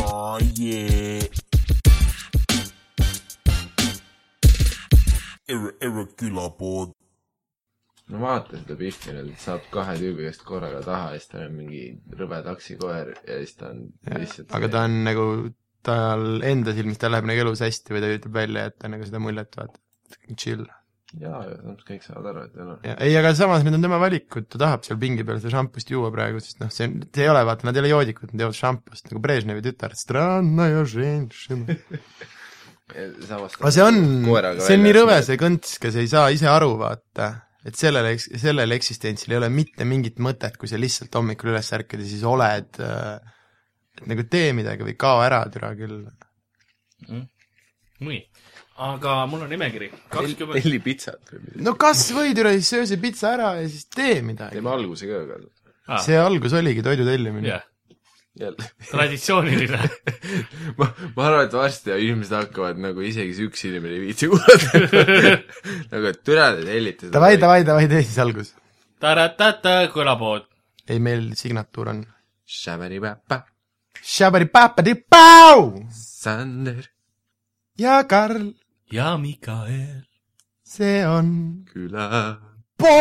Oh yeah. Irre- Irregular board. no vaatan seda pilti nüüd , saab kahe tüübi käest korraga taha ja siis tal on mingi rõve taksikoer ja siis ta on lihtsalt aga ta on nagu , tal enda silmis , tal läheb nagu elus hästi või ta ütleb välja , et ta on nagu seda muljet , vaata , chill . jaa , ja samas kõik saavad aru , et tal on ei , aga samas need on tema valikud , ta tahab seal pingi peal seda šampust juua praegu , sest noh , see , see ei ole , vaata , nad ei ole joodikud , nad joovad šampust nagu Brežnevi tütar . aga samas see on , see on nii rõve see kõnts , kes ei saa ise aru , vaata , et sellel , sellel eksistentsil ei ole mitte mingit mõtet , kui sa lihtsalt hommikul üles ärkad ja siis oled , et nagu tee midagi või kao ära , türa küll nii , aga mul on nimekiri kakskümmend , telli pitsat või midagi . no kas või türa , siis söö see pitsa ära ja siis tee midagi . teeme alguse ka veel . see algus oligi toidu tellimine jah yeah. ., jälle . traditsiooniline . ma , ma arvan , et varsti inimesed hakkavad nagu isegi see üks inimene ei viitsi kuulata . nagu , et türa te tellite . Davai , davai , davai , tee siis algus . taratata , kõlapood . ei , meil signatuur on . Šämeni-päpä , Sander , ja Karl , ja Mikael . see on küla . pood .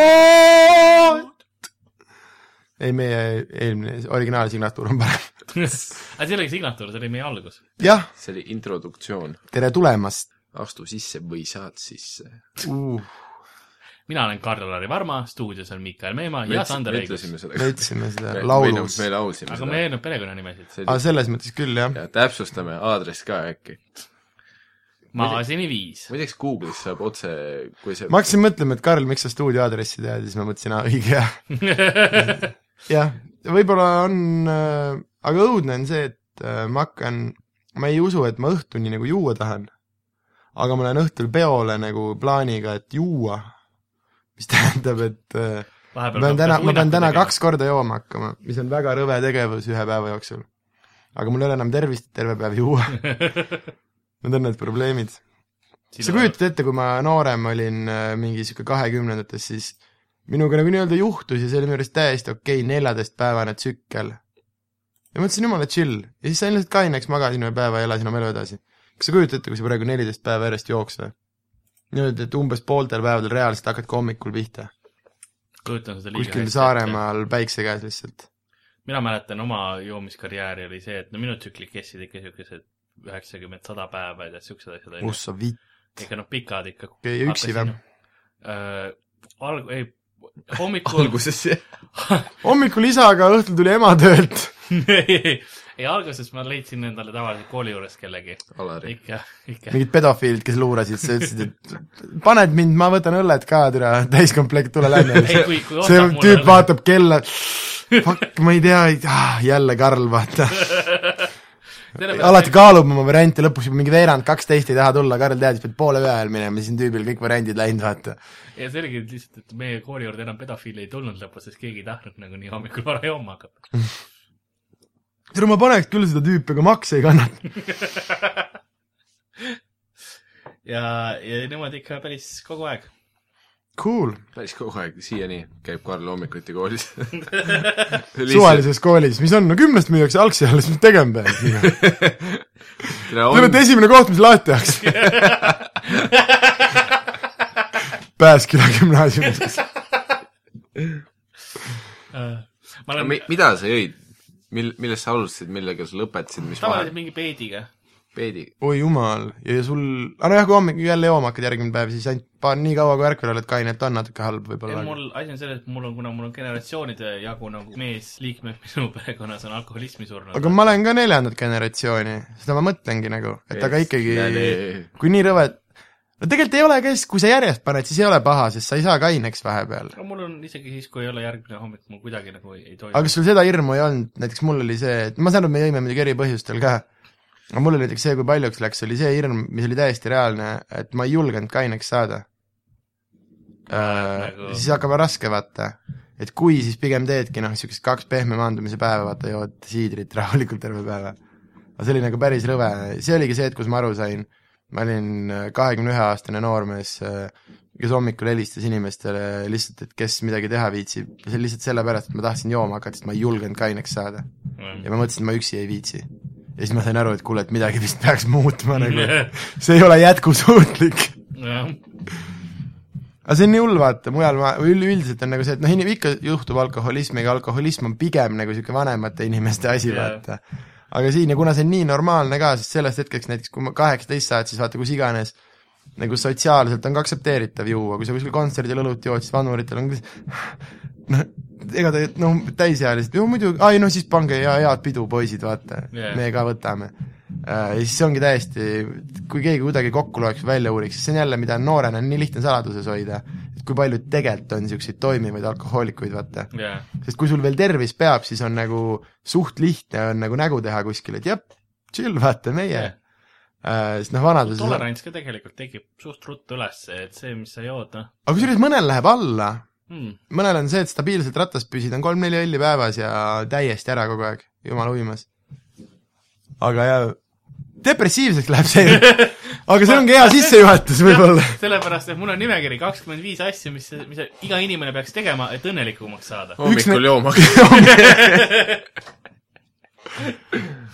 ei , meie eelmine originaalsignatuur on parem . aga see oli signatuur , see oli meie algus . jah , see oli introduktsioon . tere tulemast astu sisse või saad sisse . uh, . mina olen Karl-Lari Varma , stuudios on Mikael Meemaa ja Ah, Sander Eigus . ütlesime seda me . ütlesime seda laulus . Ah, me laulsime aga me ei seda . öelnud perekonnanimesid . aga selles mõttes küll , jah . ja täpsustame aadress ka äkki . maasini viis . muideks Google'is saab otse , kui see ma hakkasin mõtlema , et Karl , miks sa stuudio aadressi tead ja siis ma mõtlesin , aa , õige jah . jah , võib-olla on , aga õudne on see , et äh, ma hakkan , ma ei usu , et ma õhtuni nagu juua tahan . aga ma lähen õhtul peole nagu plaaniga , et juua . mis tähendab , et äh, ma pean täna , nagu ma pean täna . kaks korda jooma hakkama , mis on väga rõve tegevus ühe päeva jooksul . aga mul ei ole enam tervist , et terve päev juua . Need on need probleemid . sa kujutad ette , kui ma noorem olin , mingi sihuke kahekümnendates , siis minuga nagu nii-öelda juhtus ja see oli minu arust täiesti okei okay, neljateistpäevane tsükkel . ja ma mõtlesin , jumala chill . ja siis sain lihtsalt kaineks , magasin ühe päeva ja elasin oma elu edasi . kas sa kujutad ette , kui sa praegu neliteist päeva järjest jooksed või ? niimoodi , et umbes pooltel päevadel reaalselt hakkad ka hommikul pihta . kujutan seda liiga kuskil . Saaremaal päikse käes lihtsalt . mina mäletan oma joomiskarjääri oli see , et no minu tsüklid kestsid ikka siukesed üheksakümmend , sada päeva ja siuksed asjad onju . ussa vitt . ikka noh , pikad ikka . Okei, ja üksi või? ? alg- , ei , hommikul , alguses hommikul isaga , õhtul tuli ema töölt . ei alguses ma leidsin endale tavaliselt kooli juures kellegi . Alari . ikka , ikka . mingid pedofiilid , kes luurasid , sa ütlesid , et paned mind , ma võtan õlled ka , türa , täiskomplekt , tule lähme . ei , kui , kui see ostab mulle tüüp õlle. . vaatab kella , fuck , ma ei tea , ah, jälle Karl , vaata . alati kaalub oma variante , lõpuks juba mingi veerand kaksteist ei taha tulla , Karl teadis , pead poole ühe ajal minema , siis on tüübil kõik variandid läinud , vaata . ja see oligi lihtsalt , et meie kooli juurde enam pedofiile ei tulnud lõpus , sest keegi ei tahtnud nagu nii hommikul vara jooma hakata . tule , ma paneks küll seda tüüpi , aga makse ei kannata . ja , ja niimoodi ikka päris kogu aeg . Cool , päris kogu aeg , siiani käib Karl hommikuti koolis . suvalises koolis , mis on , no kümnest müüakse algsi alles , mis tegema peab ? ütleme , et lihtsalt . esimene koht , mis lahti tehakse . Pääsküla gümnaasiumis . ma olen mida sa jõid ? mil- , millest sa alustasid , millega sa lõpetasid , mis vahe ? tavaliselt mingi peediga . peedi . oi jumal , ja sul , aga nojah , kui hommikul jälle jooma hakkad järgmine päev , siis ainult paar , nii kaua kui ärkvel oled kaine , et on natuke halb võib-olla . mul , asi on selles , et mul on , kuna mul on generatsioonide jagu nagu meesliikmed minu perekonnas on alkoholismi surnud . aga ma olen ka neljandat generatsiooni , seda ma mõtlengi nagu , et aga ikkagi , kui nii rõve , no tegelikult ei ole , kes , kui sa järjest paned , siis ei ole paha , sest sa ei saa kaineks vahepeal . aga mul on isegi siis , kui ei ole järgmine hommik , mul kuidagi nagu ei, ei toimi . aga kas sul seda hirmu ei olnud , näiteks mul oli see , et ma saan aru , me jõime muidugi eri põhjustel ka , aga mul oli näiteks see , kui paljuks läks , oli see hirm , mis oli täiesti reaalne , et ma ei julgenud kaineks saada . Nagu- siis hakkab raske , vaata . et kui , siis pigem teedki noh , niisugust kaks pehme maandumise päeva , vaata , jood siidrit rahulikult terve päeva . aga see oli nagu päris rõve , see oligi see hetk , kus ma aru sain , ma olin äh, kahekümne ühe aastane noormees , kes hommikul helistas inimestele lihtsalt , et kes midagi teha viitsib , see oli lihtsalt sellepärast , et ma tahtsin jooma hakata , sest ma ei julgenud kaineks saada . ja ma mõtlesin , et ma üksi ei viitsi . ja siis ma sain aru , et kuule , et midagi vist peaks muutma nagu , see ei ole jätkusuutlik . jah , aga see on nii hull , vaata , mujal ma , või üleüldiselt on nagu see , et noh , inimene ikka juhtub alkoholismiga , alkoholism on pigem nagu niisugune vanemate inimeste asi Jaa. yeah. , vaata . aga siin ja kuna see on nii normaalne ka , siis sellest hetkeks näiteks , kui ma kaheksateist saad , siis vaata kus iganes nagu sotsiaalselt on ka aktsepteeritav juua , kui sa kuskil kontserdil õlut jood , siis vanuritel on noh , ega ta , noh , täisealised , ju muidu , ai noh , siis pange hea , head pidu , poisid , vaata Jaa. yeah. , me ka võtame . Äh, ja siis see ongi täiesti , kui keegi kuidagi kokku loeks , välja uuriks , siis see on jälle , mida noorena on nii lihtne saladuses hoida , et kui palju tegelikult on niisuguseid toimivaid alkohoolikuid , vaata . jah , sest kui sul veel tervis peab , siis on nagu suht lihtne on nagu nägu teha kuskil , et jep , chill , vaata meie Jah. yeah. . sest noh , vanaduses on... tolerants ka tegelikult tekib suht ruttu ülesse , et see , mis sa jood , noh aga kusjuures mõnel läheb alla , hmm. , mõnel on see , et stabiilselt rattas püsid , on kolm-neli õlli päevas ja täiesti ära kogu aeg , jumala uimas . aga jaa , depressiivseks läheb see , aga see ongi hea sissejuhatus võib-olla . sellepärast , et mul on nimekiri kakskümmend viis asja , mis , mis iga inimene peaks tegema , et õnnelikumaks saada . Oh. hommikul jooma hakata .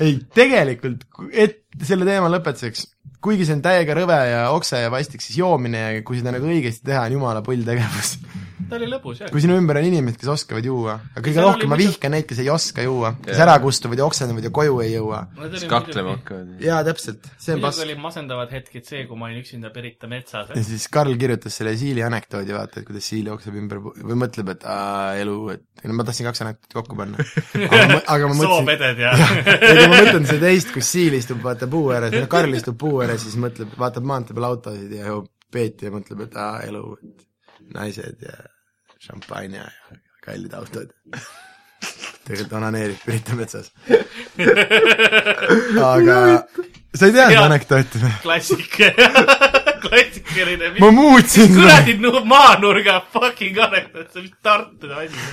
ei , tegelikult , et selle teema lõpetuseks , kuigi see on täiega rõve ja okse ja vastik , siis joomine ja kui seda nagu õigesti teha , on jumala pull tegevus . ta oli lõbus , jah . kui sinu ümber on inimesed , kes oskavad juua , aga kõige seal oli rohkem ma muidu- vihkan neid , kes ei oska juua , kes Jaa. ära kustuvad ja oksendavad ja koju ei jõua . siis kaklema . hakkavad . jaa , täpselt , see on muidugi pask . olid masendavad hetked see , kui ma olin üksinda Pirita metsas , ja siis Karl kirjutas selle siili anekdoodi , vaata , et kuidas siil jookseb ümber pu- või mõtleb , et aa , elu , et no ma tahtsin kaks anekdooti kokku panna . aga ma , aga ma mõtlesin , soopeded ja ei kui ma mõtlen seda teist , kus siil istub vaata puu ääres , Karl istub puu ääres , siis mõtleb , vaatab maantee peal autosid ja joob peeti ja mõtleb , et aa , elu , et naised ja šampanja ja kallid autod . tegelikult onaneerib Pirita metsas . aga sa ei teadnud Jaa. anekdooti või ? klassik klassikaline . ma muutsin seda . kuradi nu- maanurga fucking anekdoot , see on vist Tartu asi .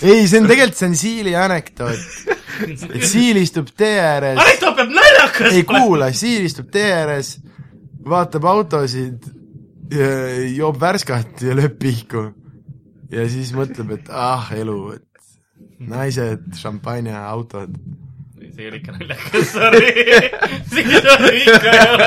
ei , see on tegelikult , see on siili anekdoot . et siil istub tee ääres , anekdoot peab naljakas ei . kuula , siil istub tee ääres , vaatab autosid , joob värskat ja lööb pihku . ja siis mõtleb , et ah , elu , et naised , šampanja , autod . see ei ole ikka naljakas , sorry . see ikka ei ole .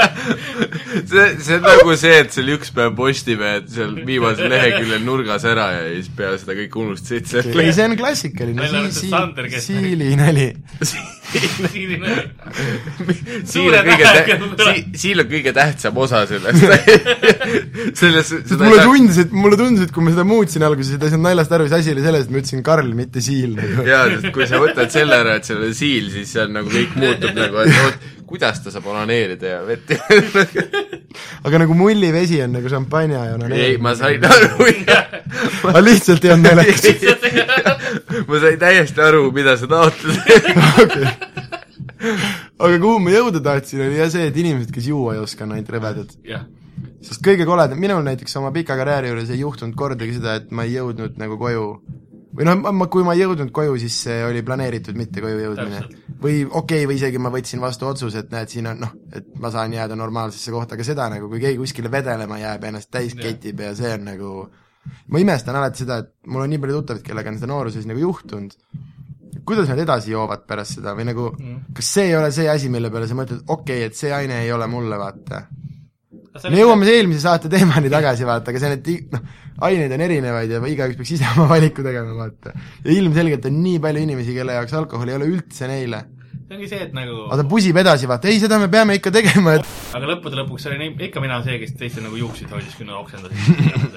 see , see on nagu see , et seal üks päev Postimehed seal viimasel leheküljel nurgas ära ja siis peale seda kõik unustasid ei , selle . see on klassikaline Välja , arvatud Sander, siil , kes- siili nali . siin ei ole . siil Suure on kõige tähega tä- , tuleb. si- , siil on kõige tähtsam osa sellest , selles , sest mulle tundus , et mulle tundus , et kui ma seda muutsin alguses , et ei saanud naljast aru , siis asi oli selles , et ma ütlesin Karl , mitte siil . nagu. jaa , sest kui sa võtad selle ära , et seal on siil , siis seal nagu kõik muutub nagu , et oot , kuidas ta saab onaneerida ja vett aga nagu mullivesi on nagu šampanja ja no ei , ma sain aru ja aga lihtsalt ei olnud naljakas . ma sain täiesti aru , mida sa taotled . aga kuhu ma jõuda tahtsin , oli jah see , et inimesed , kes juua ei oska , on ainult rõvedad . jah , sest kõige koledam , minul näiteks oma pika karjääri juures ei juhtunud kordagi seda , et ma ei jõudnud nagu koju või noh , ma , kui ma ei jõudnud koju , siis see oli planeeritud mitte koju jõudmine . või okei okay, , või isegi ma võtsin vastu otsuse , et näed , siin on noh , et ma saan jääda normaalsesse kohta , aga seda nagu , kui keegi kuskile vedelema jääb ja ennast täis Jah. ketib ja see on nagu ma imestan alati seda , et mul on nii palju tuttavaid , kellega on seda nooruses nagu juhtunud , kuidas nad edasi joovad pärast seda või nagu Mm. kas see ei ole see asi , mille peale sa mõtled , okei okay, , et see aine ei ole mulle , vaata me jõuame jõuame eelmise saate teemani tagasi , vaata , aga see on , et i- noh , aineid on erinevaid ja igaüks peaks ise oma valiku tegema , vaata . ja ilmselgelt on nii palju inimesi , kelle jaoks alkohol ei ole üldse neile . see ongi see , et nagu , aga ta pusib edasi , vaata , ei , seda me peame ikka tegema , et aga lõppude lõpuks olin im- ikka mina see , kes teiste nagu juukseid hoidis , kui nad oksendasid .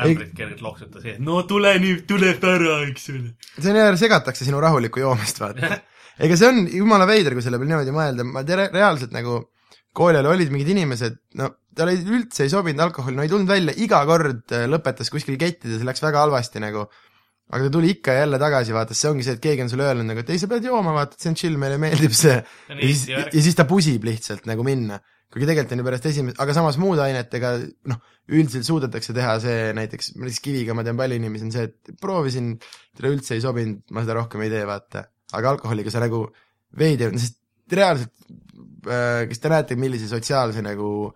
ämbrid kergelt loksutas ees , no tule nüüd , tule ära , eks ole . see on jälle , segatakse sinu rahulikku joomist , vaata . ega see on jumala veider , kui selle peale niimoodi mõelda , ma tea , reaalselt nagu kooli ajal olid mingid inimesed , no talle ei- üldse ei sobinud alkohol , no ei tulnud välja , iga kord äh, lõpetas kuskil kettides , läks väga halvasti nagu . aga ta tuli ikka ja jälle tagasi , vaata , see ongi see , et keegi on sulle öelnud nagu , et ei , sa pead jooma , vaata , see on chill , meile meeldib see . See on ja siis , Eesti ja värk. siis ta pusib lihtsalt nagu minna . kuigi tegelikult on ju pärast esimest , aga samas muude ainetega noh , üldiselt suudetakse teha see näiteks , näiteks kiviga ma tean palju inimesi on see , et proovisin , talle üldse ei sobinud , ma seda rohkem ei tee , vaata . aga alkoholiga sa nagu veidi , sest reaalselt äh, kas te näete , millise sotsiaalse nagu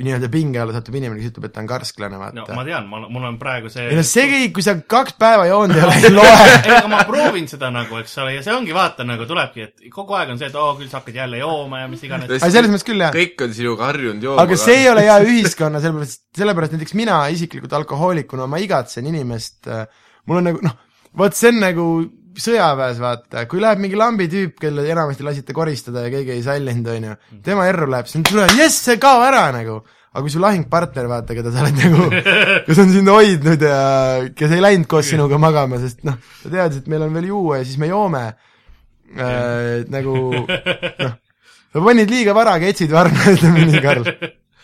nii-öelda pinge alla satub inimene , kes ütleb , et ta on karsklane , no vaata ma . tean , ma , mul on praegu see ei no see kõik , kui sa kaks päeva joonud ei ole , ei loe . ei , aga ma proovin seda nagu , eks ole , ja see ongi , vaata nagu tulebki , et kogu aeg on see , et oo , küll sa hakkad jälle jooma ja mis iganes . aga selles mõttes küll jah . kõik on sinuga harjunud jooma . aga see ei ole hea ühiskonna , sellepärast , sellepärast näiteks mina isiklikult alkohoolikuna , ma igatsen inimest , mul on nagu noh , vot see on nagu sõjaväes vaata , kui läheb mingi lambi tüüp , kelle enamasti lasite koristada ja keegi ei sallinud , onju , tema erru läheb , siis on tule , jess , see kao ära nagu . aga kui su lahingpartner , vaata , keda sa oled nagu , kes on sind hoidnud ja kes ei läinud koos sinuga magama , sest noh , sa tead , et meil on veel juua ja siis me joome äh, , et nagu sa panid liiga vara ketsid varna , ütleme nii , Karl .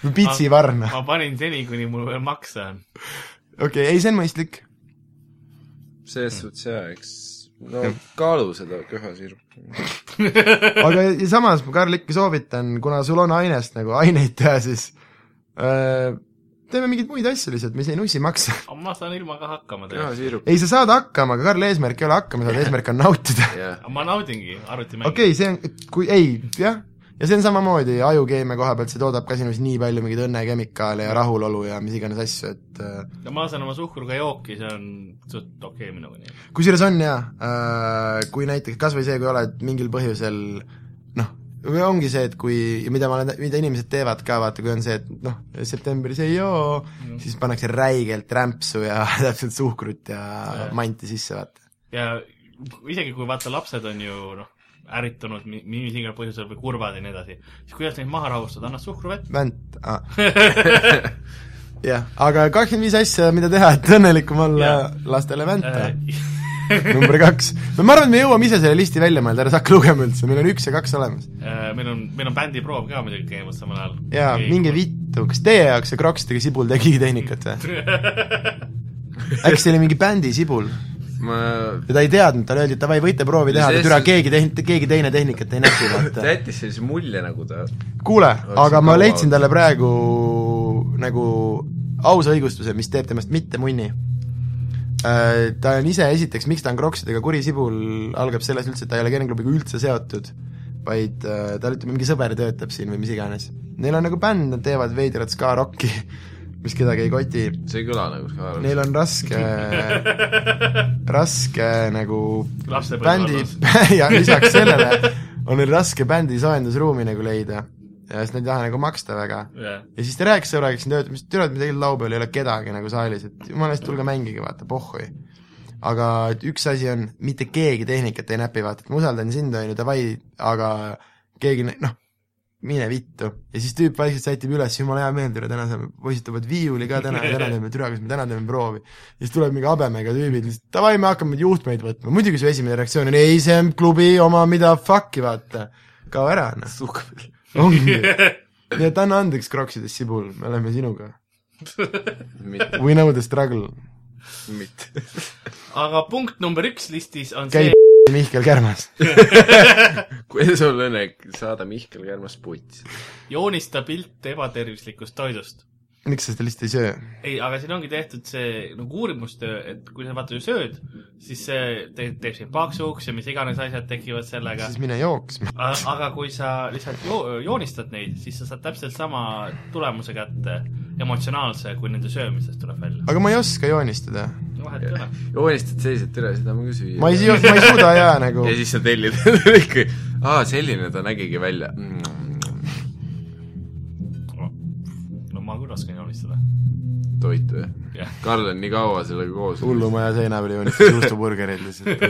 või pitsi varna . ma panin seni , kuni mul veel makse on . okei okay, , ei see on mõistlik . selles suhtes jaa , eks no kaalu seda köhasirpi . aga ja samas ma Karl ikka soovitan , kuna sul on ainest nagu aineid teha , siis öö, teeme mingeid muid asju lihtsalt , mis ei nussi maksa . ma saan ilma ka hakkama tegelikult . köhasirp , ei , sa saad hakkama , aga Karl eesmärk ei ole hakkama saada , eesmärk on nautida . jah . ma naudingi arvutimänge . okei okay, , see on , kui ei , jah , ja see on samamoodi ajukeemia koha pealt , see toodab ka sinus nii palju mingeid õnnekemikaale ja rahulolu ja mis iganes asju , et äh, öö, no ma saan oma suhkruga jooki , see on suht okei okay minuga nii . kusjuures on jaa , kui näiteks kas või see , kui oled mingil põhjusel noh , või ongi see , et kui , mida ma olen , mida inimesed teevad ka , vaata , kui on see , et noh , septembris ei joo , siis pannakse räigelt rämpsu ja täpselt suhkrut ja Jah. manti sisse , vaata . ja isegi kui vaata , lapsed on ju noh , ärritunud mi- mis iganes põhjusel või kurvad ja nii edasi , siis kuidas neid maha rahustada , annad suhkruvett . vänt ah. . jah , aga kakskümmend viis asja , mida teha , et õnnelikum olla , Jah. lastele vänta . Äh, number kaks . no ma arvan , et me jõuame ise selle listi välja mõelda , ära sa hakka lugema üldse , meil on üks ja kaks olemas . äh, meil on , meil on bändiproov ka muidugi käimas samal ajal . jaa , minge . vittu , kas teie jaoks see krokstega sibul tegi tehnikat või ? äkki see oli mingi bändi sibul ma , ja ta ei teadnud , talle öeldi , et davai , võite proovi teha , See- aga türa keegi tehn- , keegi teine tehnikat ei näpi , ta vaata . jättis sellise mulje nagu ta , kuule , aga ma kaua leidsin olnud. talle praegu nagu ausa õigustuse , mis teeb temast mitte munni . Ta on ise , esiteks , miks ta on krokstega kuri sibul , algab selles üldse , et ta ei ole Genklubiga üldse seotud , vaid äh, tal ütleme , mingi sõber töötab siin või mis iganes . Neil on nagu bänd , nad teevad veidrat ska-rokki , mis kedagi ei koti see ei kõla nagu skaala . neil on raske , raske nagu Lapsepõlve bändi ja lisaks sellele on neil raske bändi soojendusruumi nagu leida . sest nad ei taha nagu maksta väga . jah , ja siis ta rääkis sõbraga , kes siin töötab , ütles , et tead , meil tegelikult laupäeval ei ole kedagi nagu saalis , et jumala eest , tulge mängige , vaata , pohhui . aga et üks asi on , mitte keegi tehnikat ei näpi , vaata , et ma usaldan sind , on ju , davai , aga keegi ne- noh , mine vittu . ja siis tüüp vaikselt sätib üles , jumala hea meel , tere , täna saame , poisid toovad viiuli ka täna , täna teeme türa , kas me täna teeme proovi . ja siis tuleb mingi habemega tüübid , lihtsalt davai , me hakkame juhtmeid võtma , muidugi su esimene reaktsioon on ei , see on klubi oma , mida fuck'i , vaata . kao ära , noh . ongi . nii et anna andeks , Kroksides Sibul , me oleme sinuga . mitte , We know the struggle . mitte . aga punkt number üks listis on käi see , Mihkel Kärmas . kui sul on õnne , saada Mihkel Kärmas putsi . joonista pilt ebatervislikust toidust . miks sa seda lihtsalt ei söö ? ei , aga siin ongi tehtud see nagu uurimustöö , et kui sa vaata ju sööd , siis see te teeb sind paksuks ja mis iganes asjad tekivad sellega siis . mine jooksma . aga kui sa lihtsalt jo joonistad neid , siis sa saad täpselt sama tulemuse kätte emotsionaalse , kui nende söömisest tuleb välja . aga ma ei oska joonistada . vahet ei ole . joonistad sellised üle , seda ma küsin . ma ei , ma ei suuda ja nagu ja siis sa tellid endale ikka , aa , selline ta nägigi välja mm, . no ma küll oskan joonistada . toit või ? jah , Karl on nii kaua sellega koos . hullumaja seina peal joonistas juustuburgereid lihtsalt .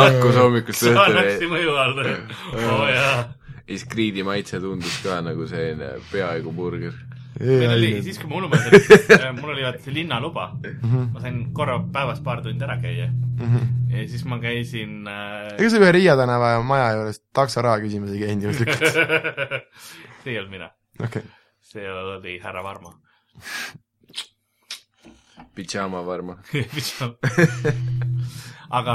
lahkus hommikust saanasti õhtuni mõju all . oo Oh, jaa . ja siis kriidi maitse tundus ka nagu selline peaaegu burger . meil oli , siis kui ma hullumajas olin , mul oli vaata see linnaluba , Mhm, ma sain korra päevas paar tundi ära käia ja siis ma käisin äh, ega sa ühe Riia tänava maja juures taksoraha küsimas ei käinud juhuslikult ? see ei olnud mina , okei okay. . see oli härra Varmo . pidžaama varma . aga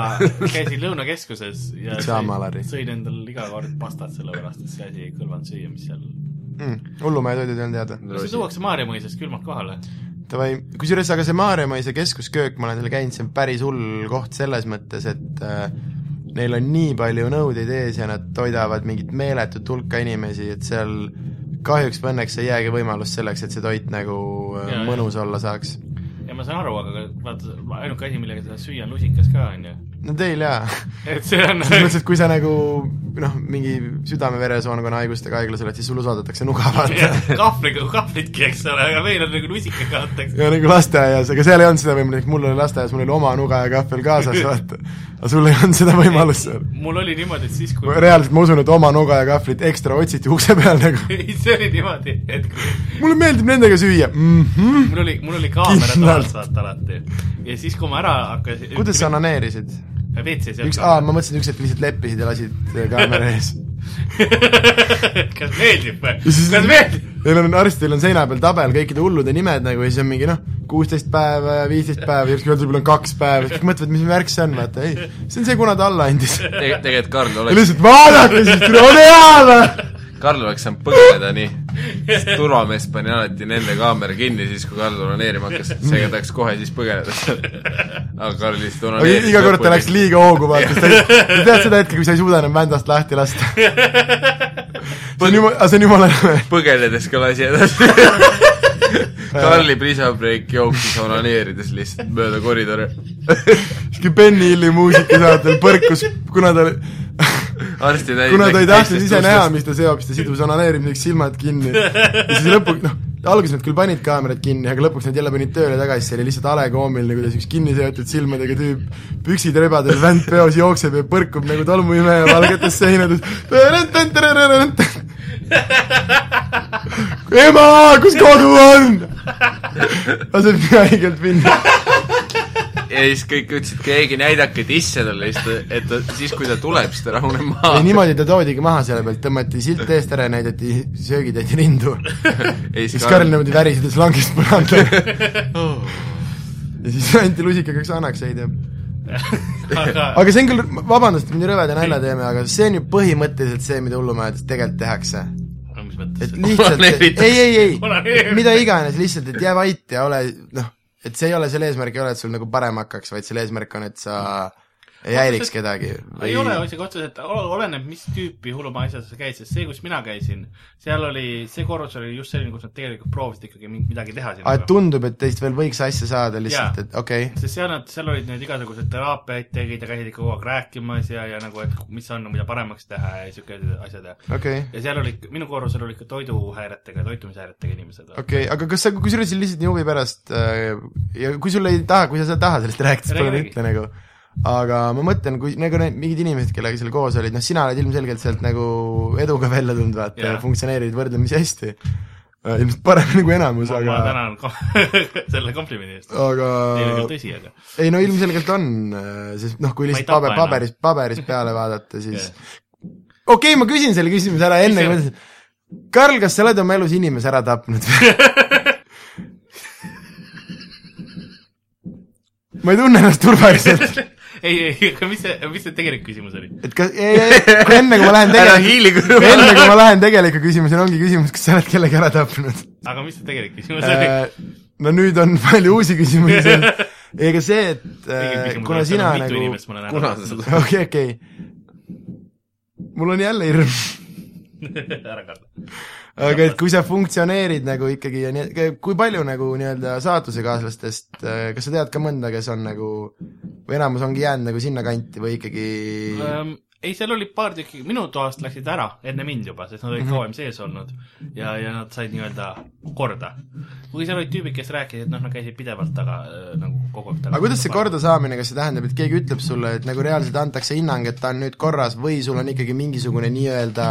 käisin Lõunakeskuses ja Pidžaamalari. sõin, sõin endal iga kord pastat , sellepärast et see asi ei kõlvanud süüa , mis seal . mm, . hullumaja toidud ei olnud head või ? see tuuakse Maarja mõisast külmalt kohale . Davai , kusjuures aga see Maarjamõisa keskusköök , ma olen seal käinud , see on päris hull koht selles mõttes , et äh, neil on nii palju nõudeid ees ja nad toidavad mingit meeletut hulka inimesi , et seal kahjuks või õnneks ei jäägi võimalust selleks , et see toit nagu äh, Jaa, mõnus olla saaks . ja ma saan aru , aga vaata , ainuke asi , millega sa saad süüa , on lusikas ka , on ju . no teil jaa . et see on selles mõttes , et kui sa nagu noh , mingi südame-veresoonkonna haigustega haiglas oled , siis sulle usaldatakse nuga vaata . kahvliga , kahvlitki , eks ole , aga meil on nagu lusikaga antakse . ja nagu lasteaias , aga seal ei olnud seda võimalik , mul oli lasteaias , mul oli oma nuga ja kahvel kaasas , vaata . aga sul ei olnud seda võimalust seal . mul oli niimoodi , et siis , kui reaalselt ma usun , et oma nuga ja kahvlit ekstra otsiti ukse peal nagu . ei , see oli niimoodi , et kui mulle meeldib nendega süüa mm . -hmm. mul oli , mul oli kaamera Kindlalt. toas vaata alati . ja siis , kui ma ära hakkasin kuidas sa onaneerisid ? WC-s üks , aa , ma mõtlesin , et üks hetk lihtsalt leppisid ja lasid äh, kaamera ees . kas meeldib või ? kas meeldib ? Neil on , arstil on seina peal tabel kõikide hullude nimed nagu ja siis on mingi noh , kuusteist päeva ja viisteist päeva ja järsku öeldakse , mul on kaks päeva , siis kõik mõtlevad , mis värk see on , vaata ei , see on see , kuna ta alla andis . ja Teg- , tegelikult Karl oleks , lihtsalt vaadake siis , ole hea või . Karl oleks saanud põgeneda nii . turvamees pani alati nende kaamera kinni siis , kui Karl onaneerima hakkas , seega ta läks kohe siis põgeneda sealt . aga Karl lihtsalt onaneeris iga kord ta läks . liiga hoogu , vaata , sa ei- sa tead seda hetke , kui sa ei suuda enam vändast lahti lasta . see on jumala , see on jumala põgenedes ka lasi edasi . Karli prisabreik jooksis onaneerides lihtsalt mööda koridore . sihuke Benny Hilli muusikasaatel põrkus , kuna ta oli arsti täis . kuna ta ei tahtnud ise näha , mis ta seob , siis ta sidus onaneerimiseks silmad kinni . ja siis lõpuks , noh , alguses nad küll panid kaamerad kinni , aga lõpuks nad jälle panid tööle tagasi , see oli lihtsalt hale koomiline , kuidas üks kinniseotud silmadega tüüp püksid rebadel , vänd peos jookseb ja põrkub nagu tolmuimeja valgetes seinades . ema , kus kodu on ? laseb nii haigelt minna . ja siis kõik ütlesid , keegi näidake tisse talle , siis ta , et ta , siis kui ta tuleb , siis ta rahuneb maha ei ,. niimoodi ta toodigi maha selle pealt , tõmmati silt eest ära ja näidati söögitädi rindu ei siis Karl nagu- niimoodi värisedes langes põrandale . Oh. ja siis anti lusikaga üks annakseid ja aga aga see on küll , vabandust , me nii rõveda nalja teeme , aga see on ju põhimõtteliselt see , mida hullumajades tegelikult tehakse . aga mis mõttes et ? lihtsalt , ei , Onaneeritakse. ei , ei Onaneeritakse. , mida iganes , lihtsalt , et jää vait ja ole noh , et see ei ole , selle eesmärk ei ole , et sul nagu parem hakkaks , vaid selle eesmärk on , et sa ei häiriks kedagi . ei ole isegi otseselt , oleneb , mis tüüpi hullumaja asjas sa käid , sest see , kus mina käisin , seal oli , see korrus oli just selline , kus nad tegelikult proovisid ikkagi mi- midagi teha aga sinuga . tundub , Ah, et teist veel võiks asja saada lihtsalt , Jaa. et okei okay. , sest seal nad , seal olid need igasugused teraapiaid tegid ja käisid ikka kogu aeg rääkimas ja , ja nagu , et mis on , mida paremaks teha ja siukesed asjad ja okei okay. ja seal oli , minu korrusel olid ka toiduhäiretega , toitumishäiretega inimesed okay. . okei okay, , aga kas sa , kusjuures lihtsalt nii huvi pärast äh, ja kui sul ei taha , kui sa ei taha sellest rääkida , siis Räägi, palun räägi. ütle nagu . aga ma mõtlen , kui nagu need mingid inimesed , kellega seal koos olid , noh , sina oled ilmselgelt sealt nagu eduga välja tulnud , vaata yeah. , Jaa. ja funktsioneerid võrdlemisi hästi . ilmselt paremini kui enamus , Aga... ma aga , tänan kom selle komplimendi eest . aga ei ole küll tõsi , aga ei no ilmselgelt on , sest noh , kui Ma ei lihtsalt tapa paber , enam. paberis , paberis peale vaadata , siis okei okay, , ma küsin selle küsimuse ära enne , kui ma ütlen . Karl , kas sa oled oma elus inimese ära tapnud või ? ma ei tunne ennast turvaliselt , ei , ei , aga mis see , mis see tegelik küsimus oli ? et kas , enne kui ma lähen ära tegelikult , hiili kõrvale . enne kui ma lähen tegeliku küsimuseni , ongi küsimus , kas sa oled kellegi ära tapnud ? aga mis see tegelik küsimus oli ? Äh, no nüüd on palju uusi küsimusi seal . ega see , et äh, kuna sina mitu nagu inimest ma olen kuna ära sa seda okei , okei . mul on jälle hirm , tapnud , ära karda . aga et kui sa funktsioneerid nagu ikkagi ja nii , kui palju nagu nii-öelda saatusekaaslastest , kas sa tead ka mõnda , kes on nagu , või enamus ongi jäänud nagu sinna kanti või ikkagi um, . ei , seal oli paar tükki , minu toast läksid ära enne mind juba , sest nad Mhm. olid kauem sees olnud ja , ja nad said nii-öelda korda . kuigi seal olid tüübid , kes rääkisid , et noh , nad käisid pidevalt taga äh, nagu kogu aeg taga . aga kuidas see ? kordasaamine , kas see tähendab , et keegi ütleb sulle , et nagu reaalselt antakse hinnang , et ta on nüüd korras või sul on ikkagi mingisugune nii-öelda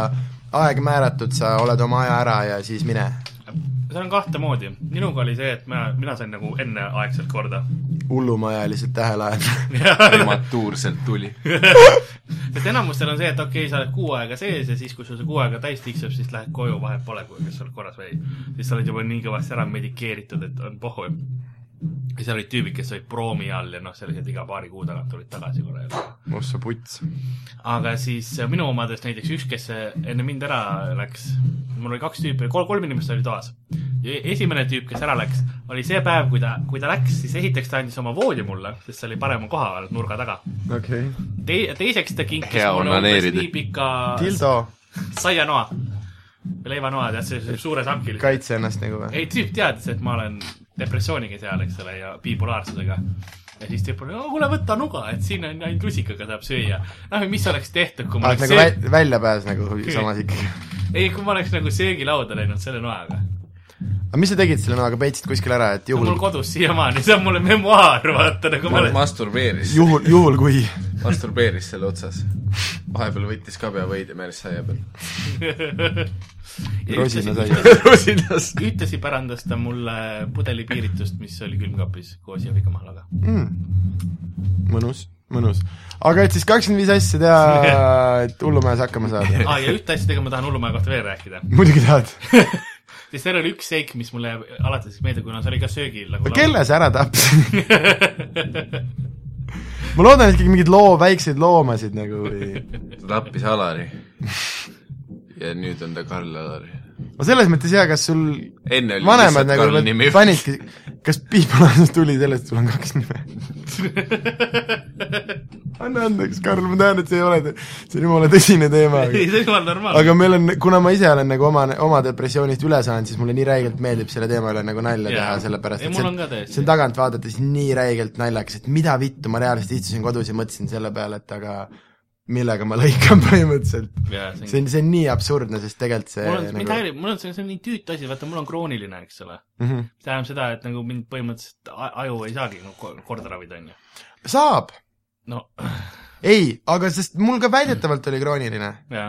aeg määratud , sa oled oma aja ära ja siis mine seal on kahte moodi . minuga oli see , et mina , mina sain nagu enneaegselt korda . hullumaja lihtsalt tähele ajada prematuurselt tuli . sest enamustel on see , et okei okay, , sa oled kuu aega sees ja siis , kui sul see kuu aega täis tiksub , siis lähed koju , vahet pole , kas sa oled korras või ei . siis sa oled juba nii kõvasti ära medikeeritud , et on pohhu . ja seal olid tüübid , kes olid proomi all ja noh , sellised iga paari kuu tagant tulid tagasi korra jälle . oh sa puts . aga siis äh, minu omadest näiteks üks , kes äh, enne mind ära läks , mul oli kaks tüüpi , kolm , kolm inimest oli toas . ja esimene tüüp , kes ära läks , oli see päev , kui ta , kui ta läks , siis esiteks ta andis oma voodi mulle , sest see oli parema koha all nurga taga . okei okay. . Tei- , teiseks ta kinkis Hea mulle umbes onaneerida. nii pika Tildo saianoa . leivanoa , tead , see see suures amkilis . kaitse ennast nagu või ? ei , tüüp teadis , et ma olen depressiooniga seal , eks ole , ja bipolaarsusega . ja siis tüüp oli , kuule , võta nuga , et siin on ainult rusikaga saab süüa . noh , mis oleks tehtud , kui ma oled oleks nagu söö- , vä- , väljapääs nagu samas ikkagi . ei , kui ma oleks nagu söögilauda läinud selle noaga . aga mis sa tegid selle noaga , peitsid kuskil ära , et mul juhul , kodus siiamaani , see on mulle memuaar , vaata nagu ma olen , masturbeeris , juhul , juhul kui masturbeeris selle otsas . vahepeal võttis ka pea veidi Meelis saia peal . rosina sai . rosinas . ühtlasi pärandas ta mulle pudeli piiritust , mis oli külmkapis koos Jõhviga mahlaga . mõnus , mõnus . aga et siis kakskümmend viis asja teha , et hullumajas hakkama saada . aa , ja ühte asja tegelikult ma tahan hullumaja kohta veel rääkida . muidugi tahad . siis seal oli üks seik , mis mulle jääb alati siis meelde , kuna see oli ka söögil nagu kelle sa ära tapsid ? ma loodan , et ikkagi mingeid loo , väikseid loomasid nagu või ta tappis Alari . ja nüüd on ta Karl Alari . no selles mõttes jaa , kas sul enne oli vanemad lihtsalt nagu Karl nimi . panidki , kas piipalaadus tuli sellest , et sul on kaks nime ? anna andeks , Karl , ma tean , et see ei ole , see on jumala tõsine teema . ei , see on jumala normaalne . aga meil on , kuna ma ise olen nagu oma , oma depressioonist üle saanud , siis mulle nii räigelt meeldib selle teema üle nagu nalja Jaa. teha , sellepärast Ei, et mul on ka see täiesti. see on tagant vaadates nii räigelt naljakas , et mida vittu , ma reaalselt istusin kodus ja mõtlesin selle peale , et aga millega ma lõikan põhimõtteliselt . jaa , see on see on , see on nii absurdne , sest tegelikult see mul on , mind nagu... häirib , mul on , see on nii tüütu asi , vaata mul on krooniline , eks ole . mm -hmm. mis tähendab seda , et nagu mind põhimõtteliselt a- aju ei saagi nagu ko- korda ravida , on ju . saab , no ei , aga sest mul ka väidetavalt oli krooniline , jaa .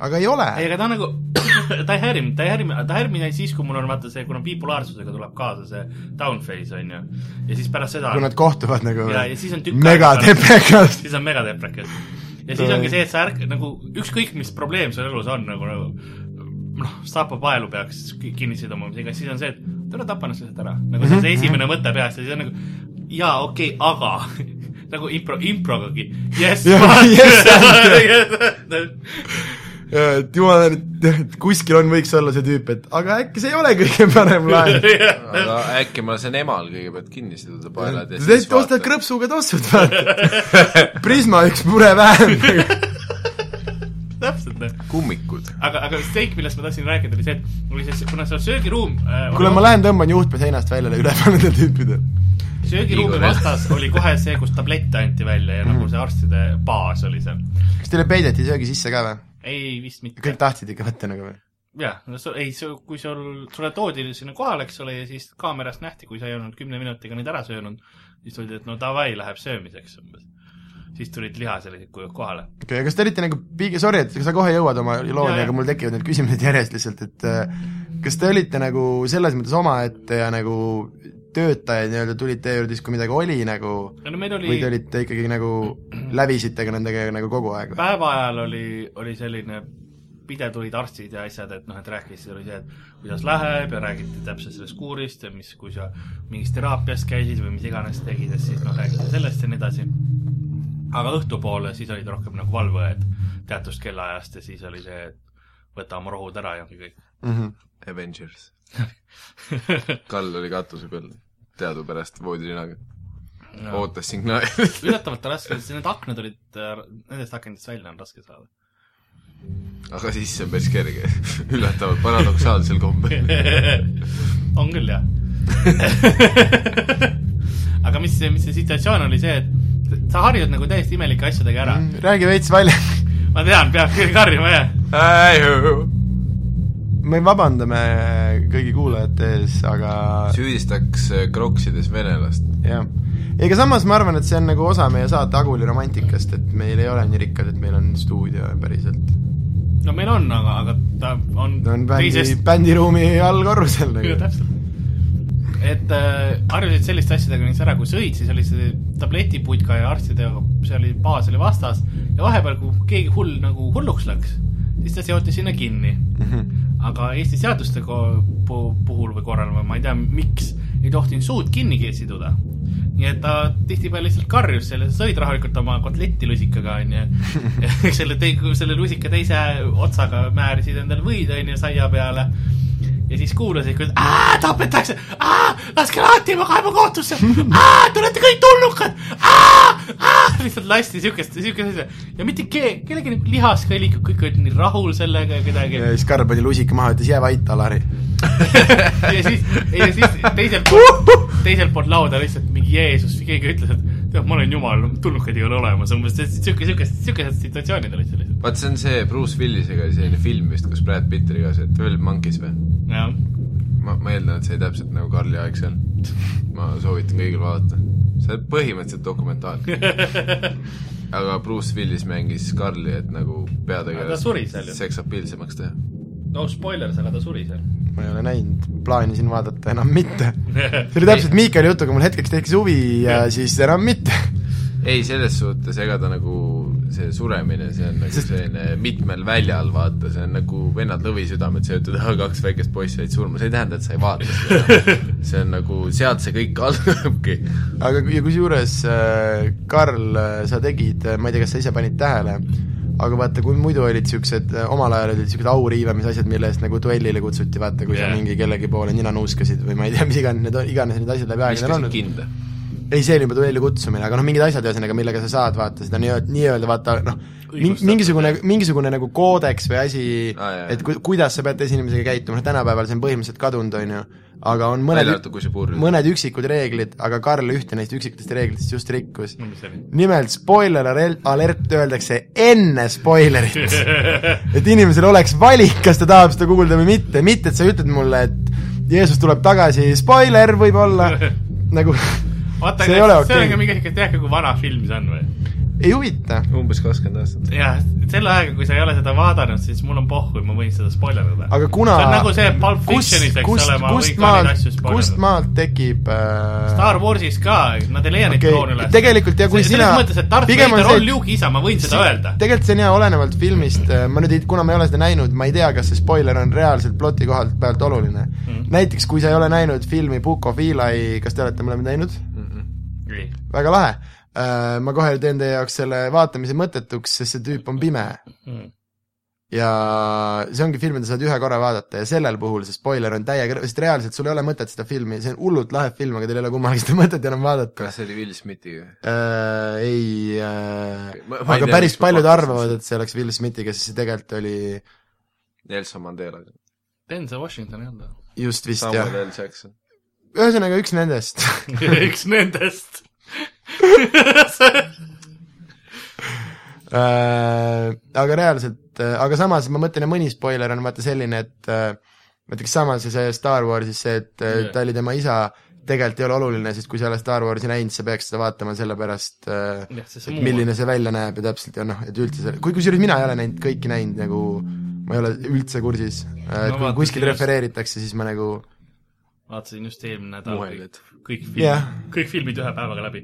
aga ei ole . ei , aga ta on nagu , ta ei häiri mind , ta ei häiri mind , ta häirib mind ainult siis , kui mul on vaata see , kuna bipolaarsusega tuleb kaasa see down phase , on ju . ja siis pärast seda kui nad kohtuvad nagu ja , ja siis on tükk megatepekas . siis on megadeprekas . ja siis ongi see , et sa ärk- , nagu ükskõik , mis probleem sul elus on , nagu , nagu noh , saapapaelu peaks ki- kinni siduma , siis on see , et tule tapa ennast lihtsalt ära . nagu see on Mhm. see esimene mõte peas ja siis on nagu jaa , okei okay, , aga nagu impro , improgagi . jess , Jah, yes, Nagu, jess . et jumal , et kuskil on , võiks olla see tüüp , et aga äkki see ei ole kõige parem laen . aga äkki ma lasen emal kõigepealt kinni siduda paelad ja siis teed , ostad krõpsuga tossud , vaata . Prisma üks mure vähem . täpselt , noh . kummikud . aga , aga steak , millest ma tahtsin rääkida , oli see , et oli see , kuna see söögiruum äh, kuule , ma lähen tõmban juhtme seinast välja ja üle panen need tüüpid . söögiruumi Igor, jah. vastas oli kohe see , kus tablette anti välja ja Mhm. nagu see arstide baas oli seal . kas teile peideti söögi sisse ka või ? ei vist mitte kõik . tahtsid ikka võtta nagu või ? jah , no sul , ei , kui sul , sulle toodi sinna kohale , eks ole , ja siis kaamerast nähti , kui sa ei olnud kümne minutiga neid ära söönud , siis tuldi , et no davai , läheb söömiseks umbes . siis tulid lihaselised kujud kohale . okei okay, , aga kas te olite nagu piigi , sorry , et sa kohe jõuad oma Jaa, looni , jaa. aga mul tekivad need küsimused järjest lihtsalt , et äh, kas te olite nagu selles mõttes omaette ja nagu töötajad nii-öelda tulid teie juurde siis , kui midagi oli nagu no meil või oli , te olite ikkagi nagu , lävisite ka nendega nagu kogu aeg või ? päeva ajal oli , oli selline pidev tulid arstid ja asjad , et noh , et rääkisid , oli see , et kuidas läheb ja räägiti täpselt sellest kuurist ja mis , kui sa mingis teraapias käisid või mis iganes tegid , et siis noh , räägiti sellest ja nii edasi . aga õhtupoole siis olid rohkem nagu valveõed teatust kellaajast ja siis oli see , et võta oma rohud ära ja ongi kõik . Mhm. Avengers . Karl oli katuse peal teadupärast voodilinaga . ootas signaali . üllatavalt raske , sest need aknad olid , nendest akendist välja on raske saada . aga sisse on päris kerge . üllatavalt paradoksaalsel kombel . on küll jah aga mis , mis see situatsioon oli see , et sa harjud nagu täiesti imelike asjadega ära . Mhm. räägi veits välja , ma tean , peab küll karjuma jah . me vabandame kõigi kuulajate ees , aga süüdistaks äh, kroksides venelast . jah . ega samas ma arvan , et see on nagu osa meie saate Aguli romantikast , et meil ei ole nii rikkad , et meil on stuudio päriselt . no meil on , aga , aga ta on ta on bändi teisest ,, bändiruumi allkorrusel ju nagu . täpselt . et äh, harjusid selliste asjadega näiteks ära , kui sõid , siis oli see tabletiputka ja arstide , see oli , baas oli vastas ja vahepeal , kui keegi hull nagu hulluks läks , siis ta seoti sinna kinni aga Eesti seaduste ko- pu- puhul või korral või ma ei tea , miks ei tohtinud suud kinni ke- siduda . nii et ta tihtipeale lihtsalt karjus selle , sõid rahulikult oma kotletti lusikaga , onju . selle tei- , selle lusika teise otsaga määrisid endale võid , onju , saia peale . ja siis kuulasid , kuidas "Aa, tapetakse , laske lahti , ma kaevan kohtusse , te olete kõik tulnukad , lihtsalt lasti siukest , siukest asja ja mitte keegi , kellegi nagu lihas ka ei liikunud , kõik olid nii rahul sellega ja kuidagi ja siis Karl pani lusika maha , ütles jää vait , Alari . ja siis , ja siis teiselt poolt , teiselt poolt lauda lihtsalt mingi Jeesus või keegi ütles , et tead , ma olen jumal , tulnukaid ei ole olemas , umbes siuke , siukest , siukesed situatsioonid olid seal lihtsalt . vaat see on see Bruce Willisega selline film vist , kus Brad Pitt oli ka see Twelve Monkeys või ? jah , ma , ma eeldan , et see täpselt nagu Karli aeg seal . ma soovitan kõigil vaadata . see on põhimõtteliselt dokumentaal . aga Bruce Willis mängis Karli , et nagu Aga ta suri seal ju. peategelast seksapiilsemaks teha . no spoilers , aga ta suri seal . ma ei ole näinud , plaanisin vaadata enam mitte . see oli täpselt Miikali jutuga , mul hetkeks tekkis huvi ja siis enam mitte . ei , selles suhtes , ega ta nagu see suremine , see on nagu Sest- selline mitmel väljal , vaata , see on nagu vennad lõvisüdamed söötud , ah , kaks väikest poissi said surma , see ei tähenda , et sa ei vaata seda . see on nagu , sealt see kõik algabki . aga kui- ja kusjuures , Karl , sa tegid , ma ei tea , kas sa ise panid tähele , aga vaata , kui muidu olid niisugused , omal ajal olid niisugused auriivamise asjad , mille eest nagu duellile kutsuti , vaata , kui yeah. Jah. sa mingi kellegi poole nina nuuskasid või ma ei tea , mis iganes need , iganes need asjad läbi aegade on viskasid olnud . kinda . ei , see oli juba duelli kutsumine , aga noh , mingid asjad ühesõnaga , millega sa saad vaata seda nii-öelda , nii-öelda vaata noh , Õigustatud. mingisugune , mingisugune nagu koodeks või asi Aa, jaa. ah, , et ku, kuidas sa pead teise inimesega käituma , noh tänapäeval see on põhimõtteliselt kadunud , on ju , aga on välja mõned arvatud , kui sa purjus . mõned üksikud reeglid , aga Karl ühte neist üksikutest reeglitest just rikkus . no mis see oli ? nimelt spoiler alert- alert öeldakse enne spoilerit . et inimesel oleks valik , kas ta tahab seda kuulda või mitte , mitte et sa ütled mulle , et Jeesus tuleb tagasi , spoiler võib-olla , nagu vaata , see ei ole aga see okei on ka mingi siuke , tead ka , kui vana film see on või ? ei huvita . umbes kakskümmend aastat . jah , selle ajaga , kui sa ei ole seda vaadanud , siis mul on pohhu , ma võin seda spoilerdada . aga kuna see on nagu see Pulp Fictionis , eks kust ole , ma , võin kust ka neid maalt asju , kust spoilerdada . maalt tekib äh, Star Warsis ka , nad ei leia neid Okei, kloone üles . tegelikult ja kui sina- selles mõttes , et Darth pigem on Vader see- on Luke'i isa , ma võin seda öelda . tegelikult see on hea , olenevalt filmist , ma nüüd ei , kuna ma ei ole seda näinud , ma ei tea , kas see spoiler on reaalselt ploti kohalt pealt oluline mm. . näiteks kui sa ei ole näinud filmi Book of Eli , kas te olete mõlemad näinud ? väga lahe . Ma kohe teen teie jaoks selle vaatamise mõttetuks , sest see tüüp on pime Hmm. ja see ongi film , mida sa saad ühe korra vaadata ja sellel puhul see spoiler on täiega , sest reaalselt sul ei ole mõtet seda filmi , see on hullult lahe film , aga teil ei ole kummalgi seda mõtet enam vaadata . kas see oli Will Smithiga ? äh, ei äh, Ma- , ma ei aga tea, päris miks ma paljud pakkusin arvavad , et see oleks Will Smithiga , sest see tegelikult oli Nelson Mandelaga . Denzel Washington ei olnud just vist jah Samuel , L Jackson . ühesõnaga üks nendest . või ? üks nendest . Äh, aga reaalselt , aga samas ma mõtlen , et mõni spoiler on vaata selline , et äh, näiteks samas see- see Star Warsis see , et yeah. Jah. ta oli tema isa , tegelikult ei ole oluline , sest kui sa ei ole Star Warsi näinud , sa peaks seda vaatama selle pärast äh, , jah , see et milline see välja näeb ja täpselt ja noh , et üldse see , kui kusjuures mina ei ole näinud , kõiki näinud nagu , ma ei ole üldse kursis äh, , et No kui vaata, kuskil sellest- refereeritakse , siis ma nagu vaatasin just eelmine nädal Muhelid. kõik, kõik filmid Jah. yeah. , kõik filmid ühe päevaga läbi ,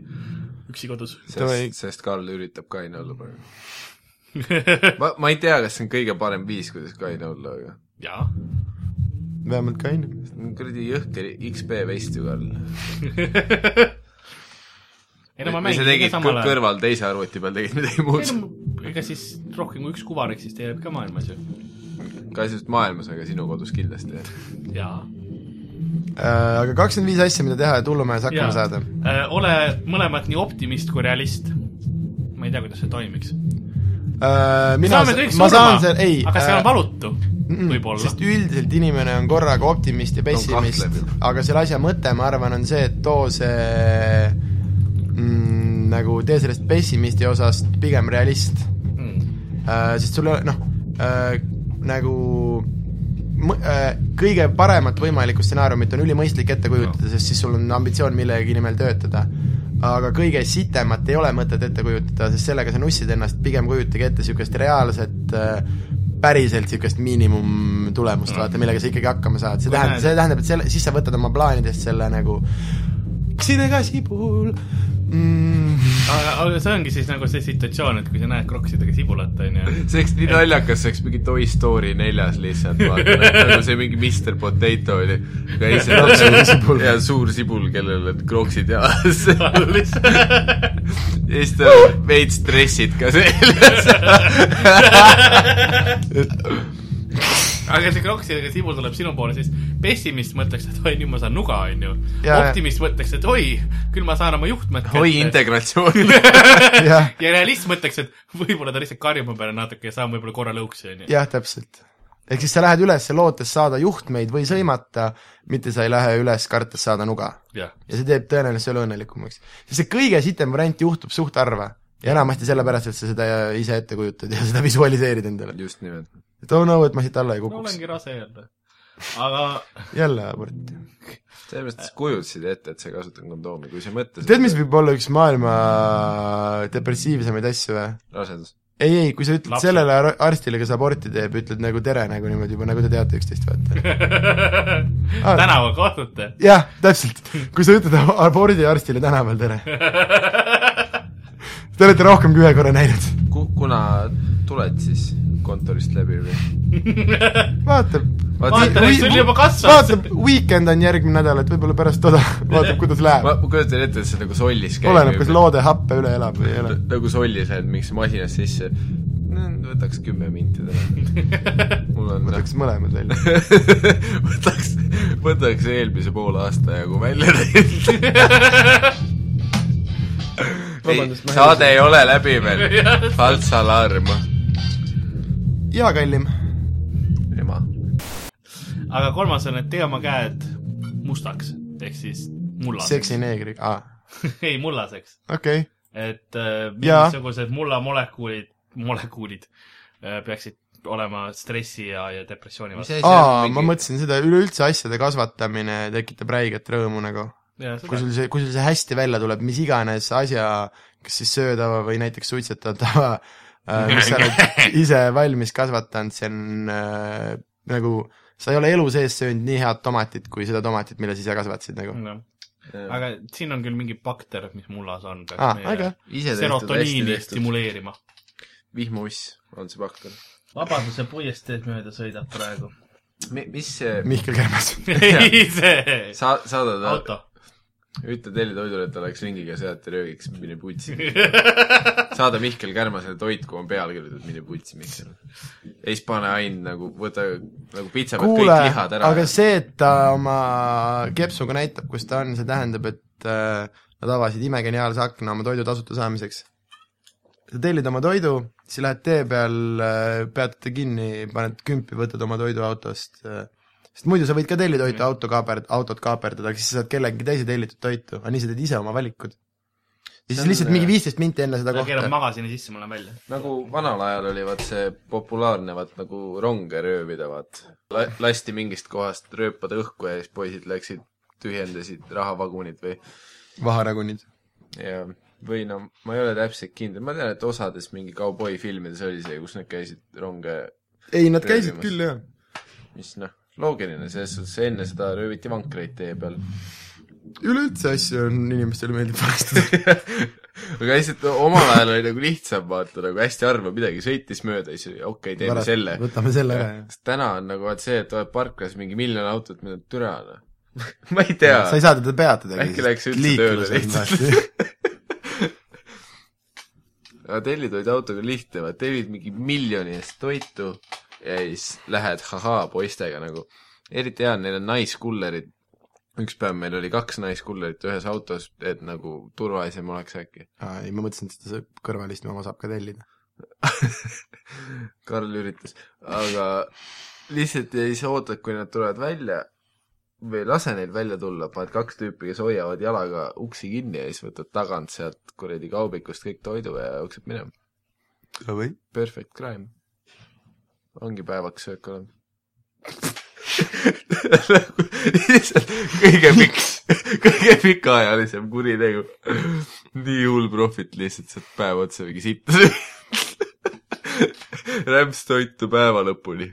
üksi kodus . Davai. sest , sest Karl üritab kaine olla praegu . ma , ma ei tea , kas see on kõige parem viis , kuidas kaine olla , aga jaa . vähemalt kaine . kuradi jõhker XP vest ju , Karl . ei no ma või sa mängin ikka tegid samal kõr- ajal . kõrval teise arvuti peal , tegid midagi muud ? ega siis rohkem kui üks kuvar eksisteerib ka maailmas ju . ka siis maailmas , aga sinu kodus kindlasti , jah . jaa . Äh, aga kakskümmend viis asja , mida teha , et hullumajas hakkama yeah. saada . Äh, ole mõlemad nii optimist kui realist . ma ei tea , kuidas see toimiks . Äh, mina saame kõik , ma saan surma , selle , ei . äh, aga see on valutu , võib-olla sest . üldiselt inimene on korraga optimist ja pessimist kahtlev ju. , aga selle asja mõte , ma arvan , on see , et too see mm, nagu tee sellest pessimisti osast pigem realist Mm. äh, , sest sul ei ole noh äh, , nagu mõ- äh, kõige paremat võimalikku stsenaariumit on ülimõistlik ette kujutada , sest siis sul on ambitsioon millegi nimel töötada . aga kõige sitemat ei ole mõtet ette kujutada , sest sellega sa nussid ennast , pigem kujutage ette niisugust reaalset äh, päriselt niisugust miinimumtulemust , vaata , millega sa ikkagi hakkama saad , see Kui tähendab , näed- see tähendab , et selle , siis sa võtad oma plaanidest selle nagu sidega sibul mm, . aga , aga see ongi siis nagu see situatsioon , et kui sa näed kroksidega sibulat , onju . see oleks nii naljakas , see oleks mingi Toy Story neljas lihtsalt , vaata , nagu see mingi Mr Potato oli . aga ei , see on suur sibul . ja suur sibul , kellel on krooksid jalas . ja siis tal on veits dressid ka seljas . aga see kroksiga sibul tuleb sinu poole , siis pessimist mõtleks , et oi , nüüd ma saan nuga , onju . Jaa, optimist mõtleks , et oi , küll ma saan oma juhtmed oi kätte . integratsioon . jah , ja realist mõtleks , et võib-olla ta lihtsalt karjub mu peale natuke ja saan võib-olla korra lõuksi , onju . jah , täpselt . ehk siis sa lähed üles lootes saada juhtmeid või sõimata , mitte sa ei lähe üles kartes saada nuga . jah , ja see teeb tõenäoliselt sulle õnnelikumaks . sest see kõige sitem variant juhtub suht harva ja enamasti sellepärast , et sa seda ise ette kujutad ja seda visualiseerid endale . just nimelt . et oh no , et ma siit alla ei no kukuks . olengi rase jälle . aga jälle abort . sellepärast sa kujutasid ette , et sa kasutad kondoomi , kui sa mõtlesid . tead , mis võib olla üks maailma depressiivsemaid asju või ? rasedus . ei , ei , kui sa ütled Lapsed. Lapsed. sellele ar- arstile , kes aborti teeb , ütled nagu tere nagu niimoodi juba , nagu te teate üksteist , vaata . Ah. tänava kohtute . jah , täpselt . kui sa ütled ab- abordiarstile tänaval tere . Te olete rohkem kui ühe korra näinud . Ku- , kuna tuled siis kontorist läbi või ? vaatab . Vaata, näed, sul juba kasvab vaatab , Weekend on järgmine nädal , et võib-olla pärast toda vaatab , kuidas läheb ma . ma kujutan ette , et see nagu sollis käib . oleneb , kas loode happe üle elab või ei ela . nagu sollis lähed mingisse masinas sisse , võtaks kümme minti täna . mul on võtaks mõlemad välja . võtaks , võtaks eelmise poole aasta jagu välja teinud . ei , Vabandust, ma ei saade ei ole läbi veel . falsa alarm . jaa , kallim . ema . aga kolmas on , et tee oma käed mustaks ehk siis mullaseks . seksi neegriga , aa , ei , mullaseks . okei okay. . et äh, Jaa. mingisugused mullamolekulid , molekuulid äh, peaksid olema stressi ja , ja depressiooni vastu . aa , ma . mõtlesin seda , üleüldse asjade kasvatamine tekitab räiget rõõmu nagu . kui sul see , kui sul see hästi välja tuleb , mis iganes asja , kas siis söödava või näiteks suitsetatava , mis sa oled ise valmis kasvatanud , see on äh, nagu , sa ei ole elu sees söönud nii head tomatit kui seda tomatit , mille sa ise kasvatasid nagu . No. Äh, aga siin on küll mingi bakter , mis mullas on , peaks aa , meie väga hea . ise tehtud , hästi serotoniini tehtud . stimuleerima . vihmauss on see bakter . vabaduse puiesteed mööda sõidab praegu . mis , Mihkel Kärmas . ei , see sa , saada ta , auto . ütle tellitoidule , et ta läheks ringiga sealt ja röögiks , Mm. mine putsi . saada Mihkel Kärmasele toit , kui on peal kirjutatud , mine putsi , Mihkel . ja siis pane ain nagu , võta nagu pitsa pealt kõik kuule , lihad ära . aga see , et ta oma kepsuga näitab , kus ta on , see tähendab , et äh, nad avasid imegeniaalse akna oma toidu tasuta saamiseks . sa tellid oma toidu , siis lähed tee peal , pead ta kinni , paned kümpi , võtad oma toidu autost , sest muidu sa võid ka tellida Mm. toitu , auto kaaper- , autot kaaperdada , aga siis sa saad kellegi teise tellitud toitu , aga nii sa teed ise oma valikud . See ja siis on- äh, lihtsalt mingi viisteist minti enne seda ta keerab kohta . magasini sisse , ma lähen välja . nagu vanal ajal oli vaat see populaarne vaat nagu ronge röövida vaat La . lasti mingist kohast rööpada õhku ja siis poisid läksid , tühjendasid rahavagunid või , vaharagunid . ja või no ma ei ole täpselt kindel , ma tean , et osades mingi kauboifilmides oli see , kus nad käisid ronge , ei , nad käisid Röövimas. küll , jah . mis noh , loogiline selles suhtes , enne seda rööviti vankreid tee peal . üleüldse asju on , inimestele meeldib varastada . aga lihtsalt omal ajal oli nagu lihtsam vaata , nagu hästi harva midagi sõitis mööda , siis oli okei okay, , teeme Varast- selle . võtame selle ka , jah . sest täna on nagu vaat see , et oled parklas mingi miljon autot , mida türa on . ma ei tea sa ei saa teda peatada . Äkki läks üldse tööle lihtsalt. . aga tellitoiduautoga on lihtne , vaat tellid mingi miljoni eest toitu ja siis lähed hahaa poistega nagu , eriti hea on , neil on naiskullerid , üks päev meil oli kaks naiskullerit ühes autos , et nagu turvalisem oleks äkki . ei , ma mõtlesin , et seda kõrvalist oma saab ka tellida . Karl üritas , aga lihtsalt ja siis ootad , kui nad tulevad välja või lase neil välja tulla , paned kaks tüüpi , kes hoiavad jalaga uksi kinni ja siis võtad tagant sealt kuradi kaubikust kõik toidu ja jookseb minema . või ? Perfect crime . ongi päevaks söök olemas . lihtsalt kõige pikk , kõige pikaajalisem kuritegu . nii hull profit lihtsalt saad päev otsa mingi sitta süüa . rämpstoitu päeva lõpuni .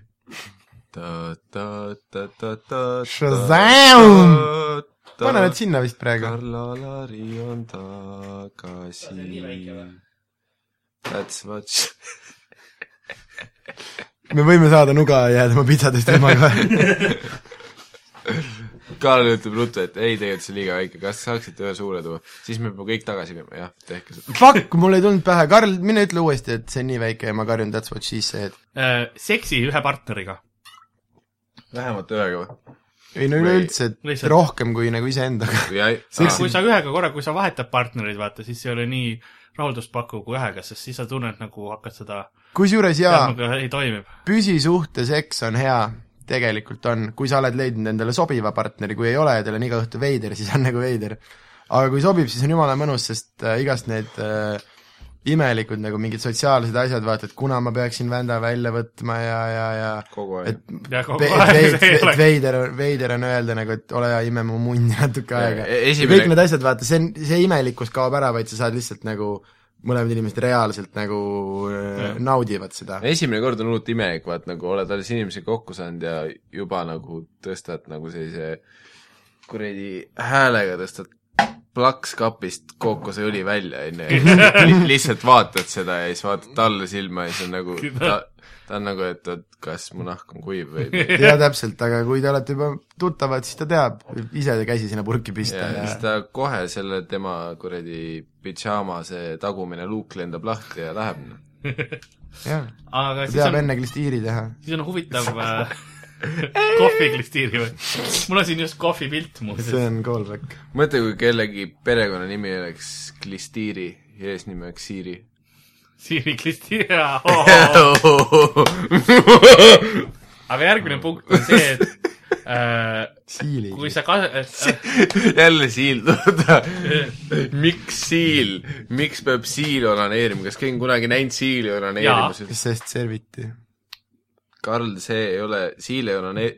Shazam! pane nad sinna vist praegu . Karla-Lari on tagasi . That's what me võime saada nuga ja jääda oma pitsadest ilmaga . Karl ütleb ruttu , et ei , tegelikult see on liiga väike , kas saaksite ühe suure tuua , siis me peame kõik tagasi viima , jah , tehke seda . Fuck , mul ei tulnud pähe , Karl , mine ütle uuesti , et see on nii väike ja ma karjun that's what she said . seksi ühe Äh, partneriga . vähemalt ühega või ? ei no üleüldse , et Lihtsalt- rohkem kui nagu iseendaga . või ai- Seks- aa, kui sa ühega korra , kui sa vahetad partnereid , vaata , siis ei ole nii rahuldust pakkuv kui ühega , sest siis sa tunned nagu hakkad seda , kusjuures jaa , teadmaga ei toimib . püsisuhte seks on hea , tegelikult on , kui sa oled leidnud endale sobiva partneri , kui ei ole ja teil on iga õhtu veider , siis on nagu veider . aga kui sobib , siis on jumala mõnus , sest äh, igast need äh, imelikud nagu mingid sotsiaalsed asjad , vaata , et kuna ma peaksin vända välja võtma ja , ja , ja kogu aeg et ja kogu Ve- aeg veid- see ei ve- ole . veider , veider on öelda nagu , et ole hea , ime mu munni natuke aega . E- ja esimene- kõik need asjad , vaata , see on , see imelikkus kaob ära , vaid sa saad lihtsalt nagu , mõlemad inimesed reaalselt nagu äh, Jah. naudivad seda . esimene kord on hullult imelik , vaat nagu oled alles inimesega kokku saanud ja juba nagu tõstad nagu sellise kuradi häälega tõstad plaks kapist kookoseõli välja , onju . lihtsalt vaatad seda ja siis vaatad talle silma ja siis on nagu , ta , ta on nagu , et oot , kas mu nahk on kuiv või jaa , täpselt , aga kui te olete juba tuttavad , siis ta teab ise ta käsi sinna purki pista ja ja, siis ta kohe selle tema kuradi pidžaama , see tagumine luuk lendab lahti ja läheb . noh. ja. , jah . aga ta siis teab on , enne klistiiri teha . siis on huvitav äh, kohviklistiiri või ? mul on siin just kohvipilt see muuseas . on callback . mõtle , kui kellegi perekonnanimi oleks Klistiiri ja eesnimi oleks Siiri . Siiri klistiir , jaa . aga järgmine punkt on see , et äh, siili . kui sa kas- , äh, jälle siil tuleb . miks siil , miks peab siil onaneerima , kas keegi on kunagi näinud siili Jaa. onaneerimas ? sest serviti . Karl , see ei ole , siil ei onanee- ,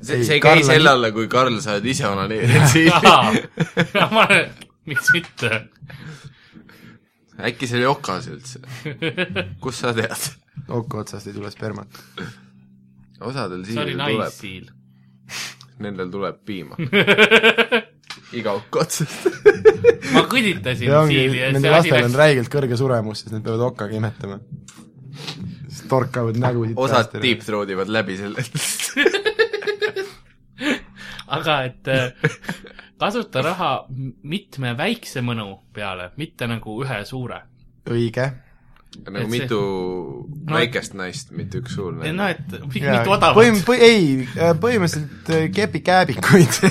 see , Ei, see ei Karl käi on- selle alla , kui Karl , sa oled ise onaneerinud jaa siili ., ma olen , miks mitte äkki see oli okas üldse ? kust sa tead ? oku otsast ei tule spermat . osadel see oli siilidel tuleb , naissiil . nendel tuleb piima iga okk otsast . ma kõditasin ja ongi , siili ja nende see asi lastel on läks , räigelt kõrge suremus , sest nad peavad okkaga imetama . siis torkavad nägu siit osad . deep throat ivad läbi sellest . aga et äh, kasuta raha m- mitme väikse mõnu peale , mitte nagu ühe suure . õige . nagu Et see- mitu väikest naist , mitte üks suur naine . no et mi- mitu odavat põhim- , põhi- , ei , põhimõtteliselt äh, kepikääbikuid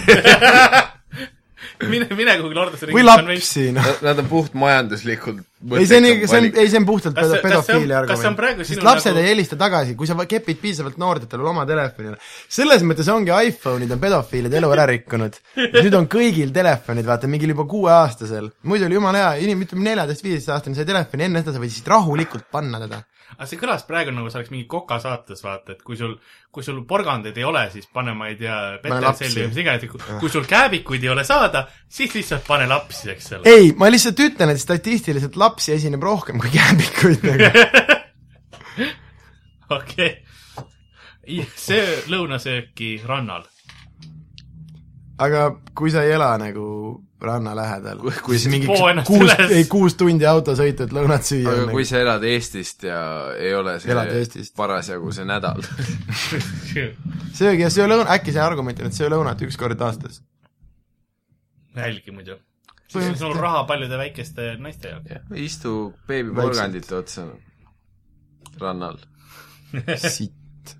mine , mine kuhugi Lordose või ringi lapsi , noh . Nad- Nad on puht majanduslikult ei , see on , see on , ei , see on puhtalt Kas see- pedo- kas see on- pedofiili kas see on argument praegu . sest sinu lapsed nagu- ei helista tagasi , kui sa va- kepid piisavalt noort , et tal on oma telefonil . selles mõttes ongi iPhone'id on pedofiilide elu ära rikkunud . nüüd on kõigil telefonid , vaata , mingil juba kuueaastasel . muidu oli jumala hea , inimene , ütleme neljateist-viieteistaastane sai telefoni , enne seda sa võisid rahulikult panna teda . aga see kõlas praegu nagu see oleks mingi Koka saates , vaata , et kui sul , kui sul porgandeid ei ole , siis pane , ma ei tea , lapsi. peterselli või mis iganes , kui sul kääbikuid ei ole saada , siis lihtsalt pane lapsi , eks ole . ei , ma lihtsalt ütlen , et statistiliselt lapsi esineb rohkem kui kääbikuid nagu. . okei okay. . söö lõunasööki rannal . aga kui sa ei ela nagu ranna lähedal , kui siis mingi poo ennast kuus üles. , ei kuus tundi autosõitu , et lõunat süüa . nagu. aga kui sa elad Eestist ja ei ole Elad see Eestist. parasjagu parasjagu see nädal , söögi ja söö lõuna , äkki see argument on , et söö lõunat üks kord aastas . nälgi muidu . siis on sul Põhimõtteliselt. raha paljude väikeste naiste jaoks . istu beebiporgandite otsa rannal . sitt .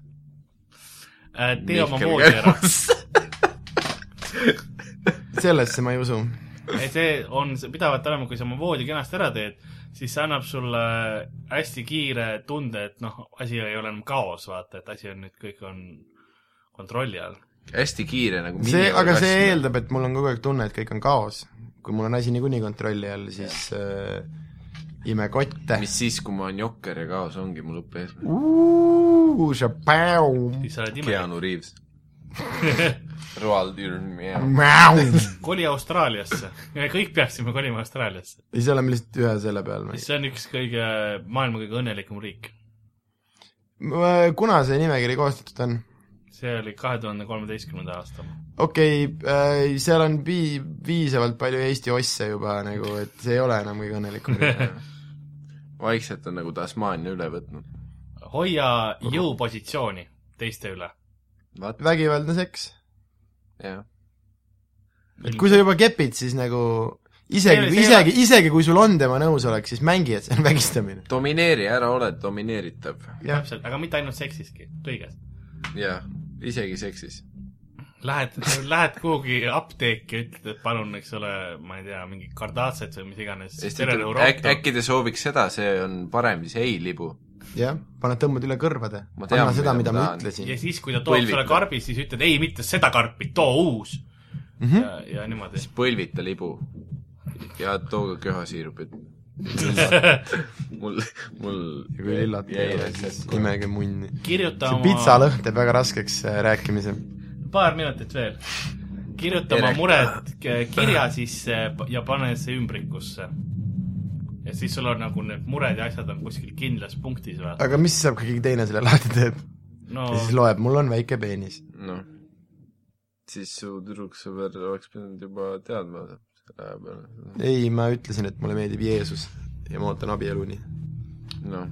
Äh, tee oma voodi ära . sellesse ma ei usu . see on , see pidavat olema , kui sa oma voodi kenasti ära teed , siis see annab sulle äh, hästi kiire tunde , et noh , asi ei ole enam kaos , vaata , et asi on nüüd , kõik on kontrolli all . hästi kiire nagu see , aga see . eeldab , et mul on kogu aeg tunne , et kõik on kaos . kui mul on asi niikuinii kontrolli all , siis äh, ime kotte . mis siis , kui ma olen jokker ja kaos ongi mu lõppeesmärk . siis sa oled imelik . Keanu Reaves . Roald Jürmi ja koli Austraaliasse . me kõik peaksime kolima Austraaliasse , siis oleme lihtsalt ühe selle peal . sest see on üks kõige , maailma kõige õnnelikum riik . kuna see nimekiri koostatud on ? see oli kahe tuhande kolmeteistkümnenda aasta . okei okay, , seal on pii- , piisavalt palju Eesti osse juba nagu , et see ei ole enam kõige õnnelikum riik . vaikselt on nagu Tasmaania üle võtnud . hoia jõupositsiooni teiste üle . vaat , vägivaldne seks jah . et kui sa juba kepid , siis nagu isegi Mm. See- , see- isegi , isegi kui sul on tema nõusolek , siis mängi , et see on vägistamine . domineeri , ära ole domineeritav . jah , täpselt , aga mitte ainult seksiski , kõiges . jah , isegi seksis . Lähed , lähed kuhugi apteeki , ütled , et palun , eks ole , ma ei tea , mingi kardaatset või mis iganes . äk, äkki te sooviks seda , see on parem siis ei-libu . jah , paned , tõmbad üle kõrvade . Ma tean, anna seda , mida mida ma ma tahan. ütlesin ja . siis , kui ta toob Põlvita. sulle karbi , siis ütled ei , mitte seda karpi , too uus mm . Mhm. -hmm. ja , ja niimoodi siis . põlvita libu ja tooge köhasiirupit . mul , mul ja kui lillad jäi teevad , siis asjad . imege munni . kirjuta see oma , pitsalõhn teeb väga raskeks äh, rääkimise . paar minutit veel . kirjuta oma Ereka. mured k- kirja sisse p- ja pane see ümbrikusse . ja siis sul on nagu need mured ja asjad on kuskil kindlas punktis või ? aga mis saab , kui keegi teine selle lahti teeb no ja siis loeb , mul on väike peenis . noh , siis su tüdruksõber oleks pidanud juba teadma selle aja peale . ei , ma ütlesin , et mulle meeldib Jeesus ja ma ootan abieluni . noh ,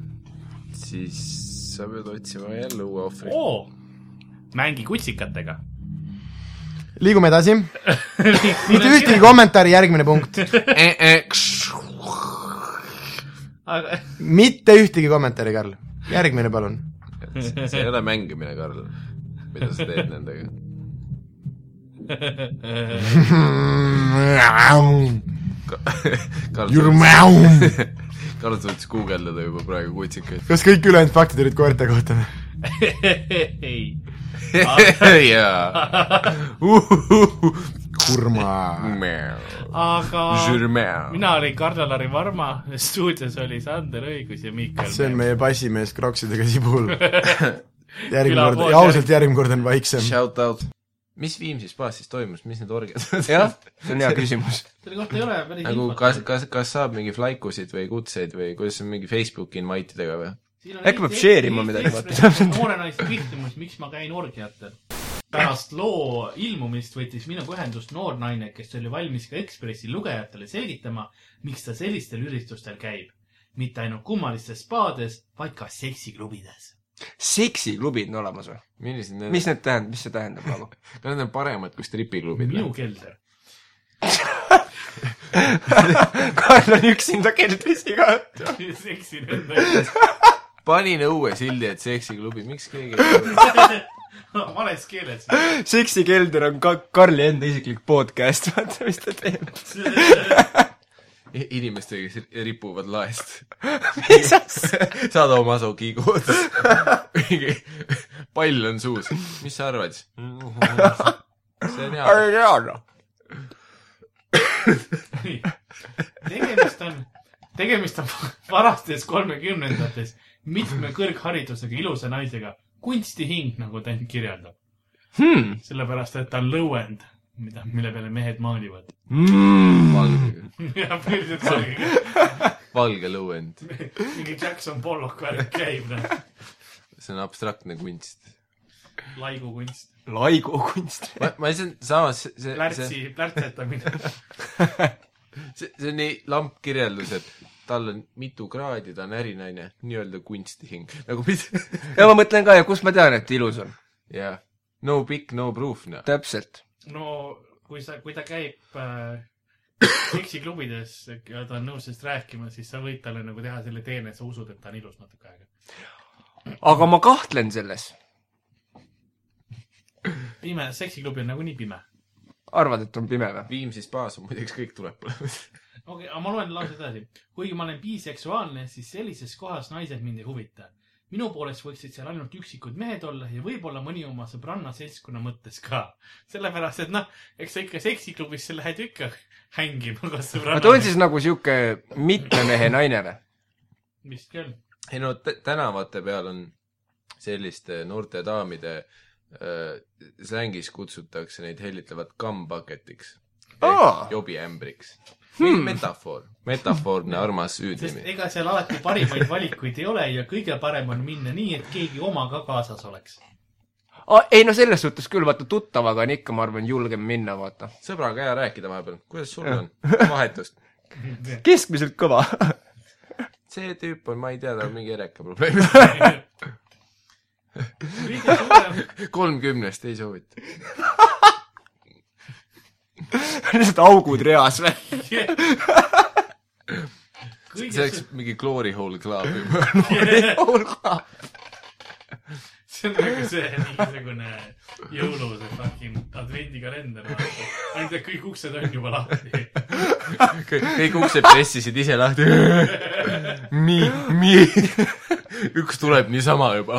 siis sa pead otsima jälle uue ohvri . oo , mängi kutsikatega . liigume edasi , mitte ühtegi kommentaari , järgmine punkt . Eh, aga mitte ühtegi kommentaari , Karl . järgmine , palun . see ei ole mängimine , Karl , mida sa teed nendega . You're Karl mom . suutis guugeldada juba praegu kutsikaid . kas kõik ülejäänud faktid olid koerte kohta või ? ei , jaa . kurma . aga Žürmea . Ah. mina olin Karl-Lari Varma , stuudios oli Sander Õigus ja Ah, Miikal . see on meie bassimees kroksidega sibul . järgmine Külapood, kord , ja ausalt , järgmine kord on vaiksem . Shout out . mis Viimsis baasis toimus , mis need orgiad jah , see on hea küsimus . selle kohta ei ole päris nagu infot. kas , kas , kas saab mingi flaikusid või kutseid või kuidas see on mingi Facebooki invite idega või ? Siin on Äkki peab Eesti- share ima Eesti midagi, Ekspress noore naise küsimus , miks ma käin orgiatel . pärast loo ilmumist võttis minuga ühendust noor naine , kes oli valmis ka Ekspressi lugejatele selgitama , miks ta sellistel üritustel käib . mitte ainult kummalistes spaades , vaid ka seksiklubides . seksiklubid on olemas või ? millised need mis need tähendab , mis see tähendab nagu ? on , need on paremad kui stripiklubid noh. minu kelder . Karl on üksinda keldrisi ka . seksin enda panin õue sildi , et seksiklubi , miks keegi ei vales keeles . seksikelder on ka Karli enda isiklik podcast , vaata mis ta teeb . inimestega , kes ripuvad laest . mis asja ? saad oma asu kiigud . pall on suus . mis sa arvad ? see on hea . ei tea noh . Nii. tegemist on , tegemist on varastes kolmekümnendates mitme kõrgharidusega ilusa naisega , kunstihing , nagu ta end kirjeldab . sellepärast , et ta on lõuend , mida , mille peale mehed maalivad . valge , ja põhiliselt sellega valge lõuend . mingi Jackson Pollock värk käib , noh , see on abstraktne kunst . laigukunst , laigu kunst . ma , ma lihtsalt , samas see , see , see , plärtsi , plärtsetamine . see, see on nii lamp kirjeldus , et tal on mitu kraadi , ta on ärinaine , nii-öelda kunstihing . nagu mis , ja ma mõtlen ka ja kust ma tean , et ta ilus on ? jah . No big , no proof , noh . täpselt . no kui sa , kui ta käib äh, seksiklubides ja ta on nõus sellest rääkima , siis sa võid talle nagu teha selle teene , sa usud , et ta on ilus natuke aega . aga ma kahtlen selles . pime , seksiklubi on nagunii pime . arvad , et on pime või ? Viimsi spaas on muideks kõik tuleb . okei okay, , aga ma loen lauset edasi . kuigi ma olen biseksuaalne , siis sellises kohas naised mind ei huvita . minu poolest võiksid seal ainult üksikud mehed olla ja võib-olla mõni oma sõbranna seltskonna mõttes ka . sellepärast , et noh , eks sa ikka seksiklubisse lähed ju ikka hängima koos aga ta on sõbrannaga . siis nagu sihuke mitme mehe naine või ? vist küll . ei no tä- tänavate peal on selliste noorte daamide äh, slängis kutsutakse neid hellitavalt kambaketiks . Aa. jobiämbriks hmm. . metafoor , metafoorne armas sest hüüdnimi . ega seal alati parimaid valikuid ei ole ja kõige parem on minna nii , et keegi oma ka kaasas oleks . ei no selles suhtes küll , vaata tuttavaga on ikka , ma arvan , julgem minna , vaata . sõbraga hea rääkida vahepeal , kuidas sul on , vahetust . keskmiselt kõva . see tüüp on , ma ei tea , tal on mingi ereka probleem . kõige suurem kolmkümnest ei soovita . lihtsalt augud reas või ? see oleks mingi glory hole klaab juba . kõige , see on nagu see mingisugune jõulu see fucking advendikalender , ainult et kõik uksed on juba lahti . kõik uksed pressisid ise lahti . nii , nii . üks tuleb niisama juba ,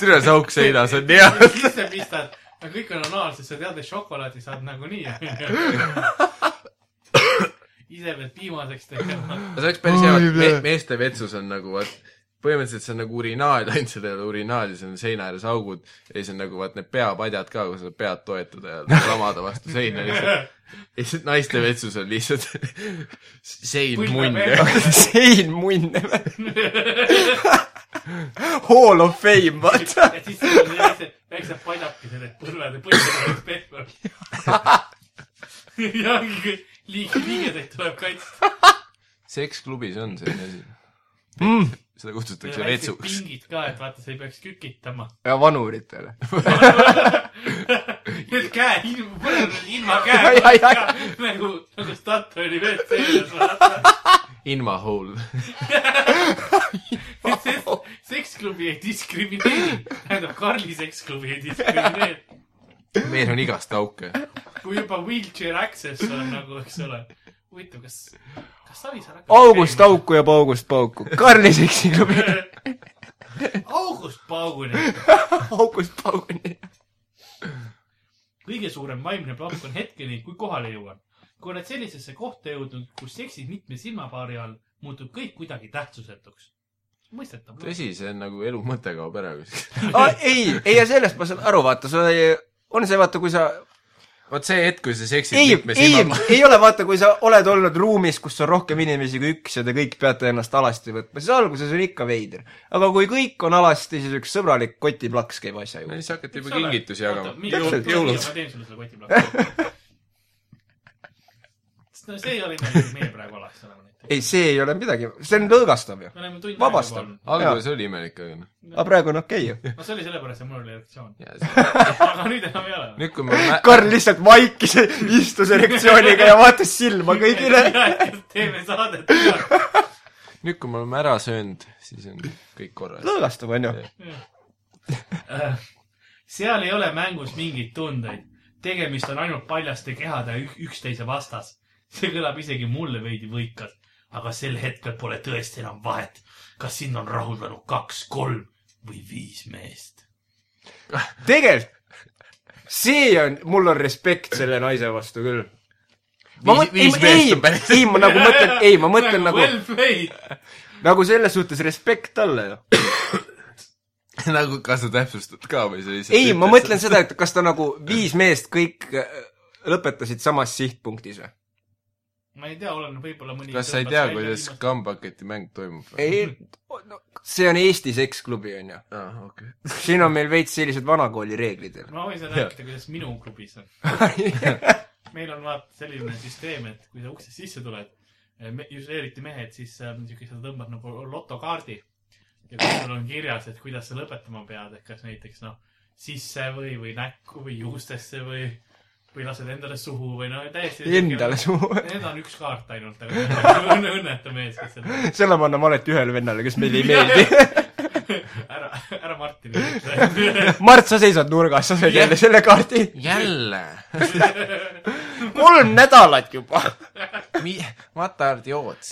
tere , see auk seinas on hea . sisse pistad , aga kõik on anaalsed , sa tead , et šokolaadi saad nagunii . ise pead piimaseks tegema . see oleks päris hea , Oi, et me, ble. meeste vetsus on nagu vaat , põhimõtteliselt see on nagu urinaal , ainult seal ei ole urinaali , seal on seina ääres augud ja siis on nagu vaat need peapadjad ka , kus saab pead toetada ja lamada vastu seina lihtsalt . ja siis naiste vetsus on lihtsalt sein Põlve munn peal. ja sein munn . Hall of fame , vaata . ja siis sul on väiksed , väiksed padjakesed , et põlved ja põlved oleks pehmed . ja ongi kõik , liig- , liigedeid tuleb kaitsta . seksklubis on selline asi . seda kutsutakse ja väiksed vetsuks . pingid ka , et vaata , sa ei peaks kükitama . ja vanuritele . Need käed , ilma Ai, ai, ai. käega , nagu , nagu Statoili WC-s , vaata . Inma hole . seksklubi ei diskrimineeri , tähendab Karli seksklubi ei diskrimineeri . meil on igast auke . kui juba wheelchair access on nagu , eks ole . huvitav , kas , kas Savisaar hakkab august auku ja paugust pauku . Karli Seksi klubi . august pauguni . august pauguni . kõige suurem vaimne plokk on hetkeni , kui kohale jõuan . kui oled sellisesse kohta jõudnud , kus seksid mitme silmapaari all , muutub kõik kuidagi tähtsusetuks . mõistetav . tõsi , see on nagu elu mõte kaob ära kuskil . Ah, ei , ei ja sellest ma saan aru , vaata , sul oli , on see vaata , kui sa vot see hetk , kui sa seksid ei mitme , ei silma , ei ole vaata , kui sa oled olnud ruumis , kus on rohkem inimesi kui üks ja te kõik peate ennast alasti võtma , siis alguses on ikka veider . aga kui kõik on alasti , siis üks sõbralik kotiplaks käib asja no juures . siis hakati juba kingitusi jagama . Täpselt, jõulud . ma teen sulle selle kotiplaki no see ei ole midagi , mis meie praegu alaks oleme näiteks . ei , see ei ole midagi , see on lõõgastav ju . me oleme tund Vabastav. aega juba alguses oli imelik , aga noh . aga praegu on okei okay, ju . olnud. no see oli sellepärast , et mul oli erektsioon . Jaa, aga nüüd enam ei ole . nüüd , kui ma mä- Karl lihtsalt vaikis , istus erektsiooniga ja vaatas silma kõigile . teeme saadet ka . nüüd , kui me oleme ära söönud , siis on kõik korras . lõõgastav on ju . Äh, seal ei ole mängus mingeid tundeid . tegemist on ainult paljaste kehade ük- üksteise vastas . see kõlab isegi mulle veidi võikas , aga sel hetkel pole tõesti enam vahet , kas sind on rahuldanud kaks , kolm või viis meest . tegelikult , see on , mul on respekt selle naise vastu küll . Viis- viis meest ei on , päris- ei , ma nagu mõtlen , ei , ma mõtlen nagu , Well played . nagu selles suhtes respekt talle ju . nagu , kas sa täpsustad ka või sa lihtsalt ei , ma mõtlen seda , et kas ta nagu viis meest kõik äh, lõpetasid samas sihtpunktis või ? ma ei tea , olen võib-olla mõni . kas sa ei tea , kuidas kambaketi mäng toimub ? ei , see on Eesti seksklubi , on ju . aa , okei . siin on meil veits sellised vanakooli reeglid . ma võin sulle rääkida , kuidas minu klubis on . meil on vaata selline süsteem , et kui sa uksest sisse tuled , just eriti mehed , siis äh, siuke , sa tõmbad nagu lotokaardi . ja kui sul on kirjas , et kuidas sa lõpetama pead , et kas näiteks noh , sisse või , või näkku või juustesse või , või lased endale suhu või no täiesti . Endale suhu . Need on üks kaart ainult , aga õnne , õnnetu mees , kes seda . selle me anname alati ühele vennale , kes meile ei meeldi . ära , ära Martinile . Mart , sa seisad nurgas , sa said jälle selle kaardi . jälle ? kolm nädalat juba . Mi- , what are the odds ?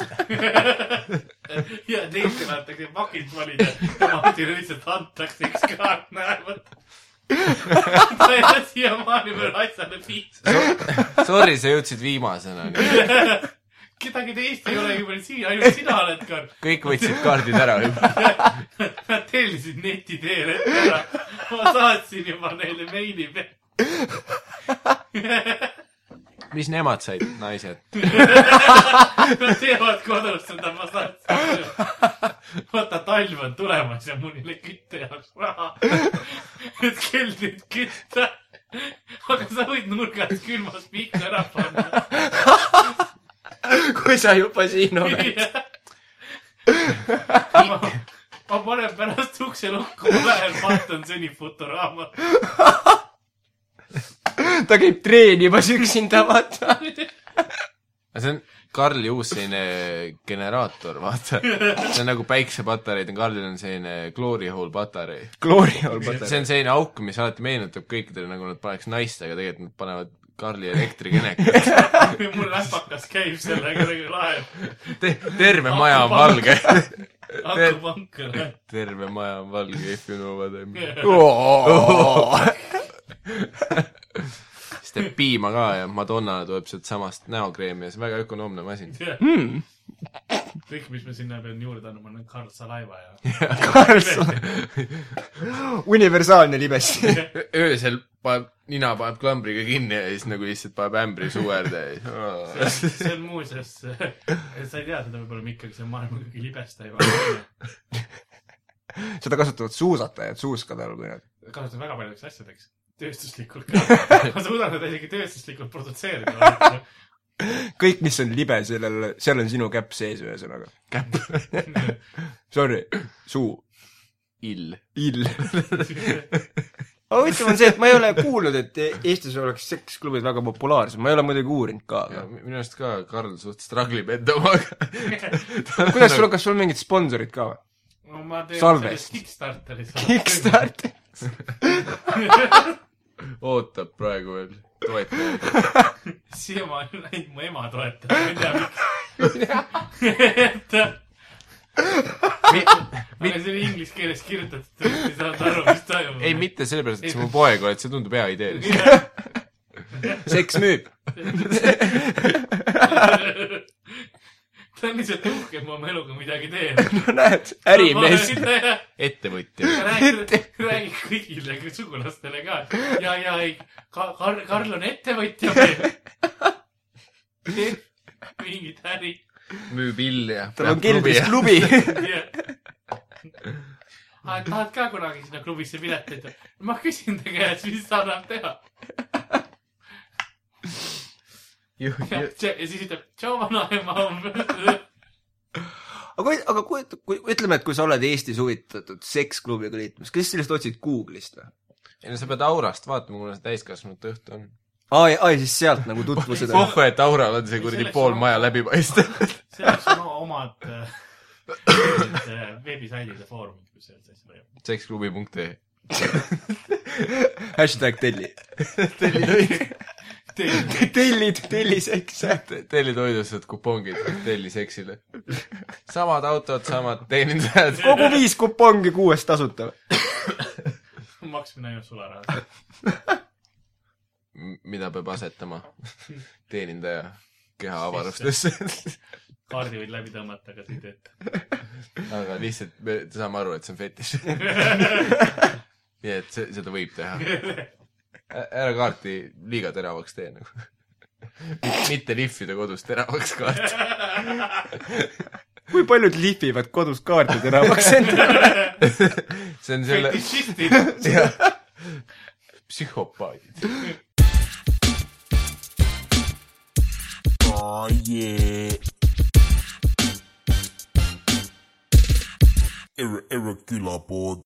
ja teistele antakse pakid valida ja Martinile lihtsalt antakse üks kaart näevad . ta ei ole siiamaani veel asjale piisavalt . Sorry , sa jõudsid viimasena . kedagi teist ei ole ju veel siin , ainult sina oled ka . kõik võtsid kaardid ära juba . Nad tellisid neti teel ette ära . ma saatsin juba neile meili peale . mis nemad said , naised ? Nad teevad kodus seda , ma saatsin . vaata , talv on tulemas ja mul ei ole kütte jaoks raha . et keldrit kütta . aga sa võid nurgas külmas pihku ära panna . kui sa juba siin oled . ma, ma panen pärast ukse lukku , ma lähen vaatan seni Futurama . ta käib treenimas üksinda , vaata . see on Karli uus selline generaator , vaata . see on nagu päiksepatareid , Karlil on selline glory hole patarei . Glory all see patarei . on selline auk , mis alati meenutab kõikidele , nagu nad paneks naist , aga tegelikult nad panevad Karli elektrikenekast . mul läpakas käib sellega nagu lahe . terve maja on valge . akupank . terve maja on valge , if you know what I mean . siis teeb piima ka ja Madonna tuleb sealtsamast näokreemi ja see on väga ökonoomne masin . Hmm. kõik , mis me sinna peame juurde andma , on Karl Salaiva ja universaalne libes . öösel paneb , nina paneb klambriga kinni ja siis nagu lihtsalt paneb ämbri suuerde ja siis see on muuseas , sa ei tea seda võib-olla Mikk , aga see on maailma kõige libestaim asi . seda kasutavad suusatajad suuskade all , kui nad . kasutan väga paljudeks asjadeks . tööstuslikult ka . ma suudan seda isegi tööstuslikult produtseerida . kõik , mis on libe , sellel , seal on sinu käpp sees , ühesõnaga . käpp Sorry , suu , ill . ill . aga huvitav on see , et ma ei ole kuulnud , et Eestis oleks seksklubid väga populaarsed , ma ei ole muidugi uurinud ka , aga minu arust ka Karl suht struggle ib enda omaga . nagu kuidas sul , kas sul on mingid sponsorid ka või ? no ma teen Salvest. sellest Kickstarteri . Kickstarter . ootab praegu veel toetajaid . siiamaani on läinud mu ema toetada , ma ei tea miks . aga see oli inglise keeles kirjutatud , ei saanud aru , mis toimub . ei ,. mitte sellepärast , et sa mu poeg oled , see tundub hea idee lihtsalt . seks müüb . ta on lihtsalt uhke , et ma oma eluga midagi teen . no näed , ärimees . ettevõtja . räägi , räägi kõigile kõik sugulastele ka ja , ja ei , Karl , Karl on ettevõtja meil . teeb mingit äri müüb illi ja . tal on keldris . klubi . ja . tahad ka kunagi sinna klubisse piletit ? ma küsin ta käest , mis ta annab teha . ja juhib ja siis ütleb , tšau vanaema homme . aga kui , aga kui, kui , ütleme , et kui sa oled Eestis huvitatud seksklubiga liitumist , kas sellest otsid Google'ist või ? ei no sa pead Aurast vaatama , kuna see täiskasvanute õhtu on . ai , ai , siis sealt nagu tutvused . pohhu , et Aural on see kuradi pool maja läbi paistnud . selleks on omad äh, äh, veebisaidid ja foorumid , kus sellist asja leiab . seksklubi.ee hashtag telli . tellid , telli seks . Te- tellitoidus saad kupongid telliseksile . samad autod , samad teenindajad . kogu viis kupongi kuuest tasuta . maksmine ainult sularahas . mida peab asetama teenindaja keha avarustesse . kaardi võid läbi tõmmata , aga sa ei tee . aga lihtsalt me saame aru , et see on fetiš . nii et see , seda võib teha . ära kaarti liiga teravaks tee nagu . mitte lihvida kodus teravaks kaarti . kui paljud lihvivad kodus kaarte teravaks endale ? see on selle , fetišistid . psühhopaadid . Oh yeah. Ir- irregular board.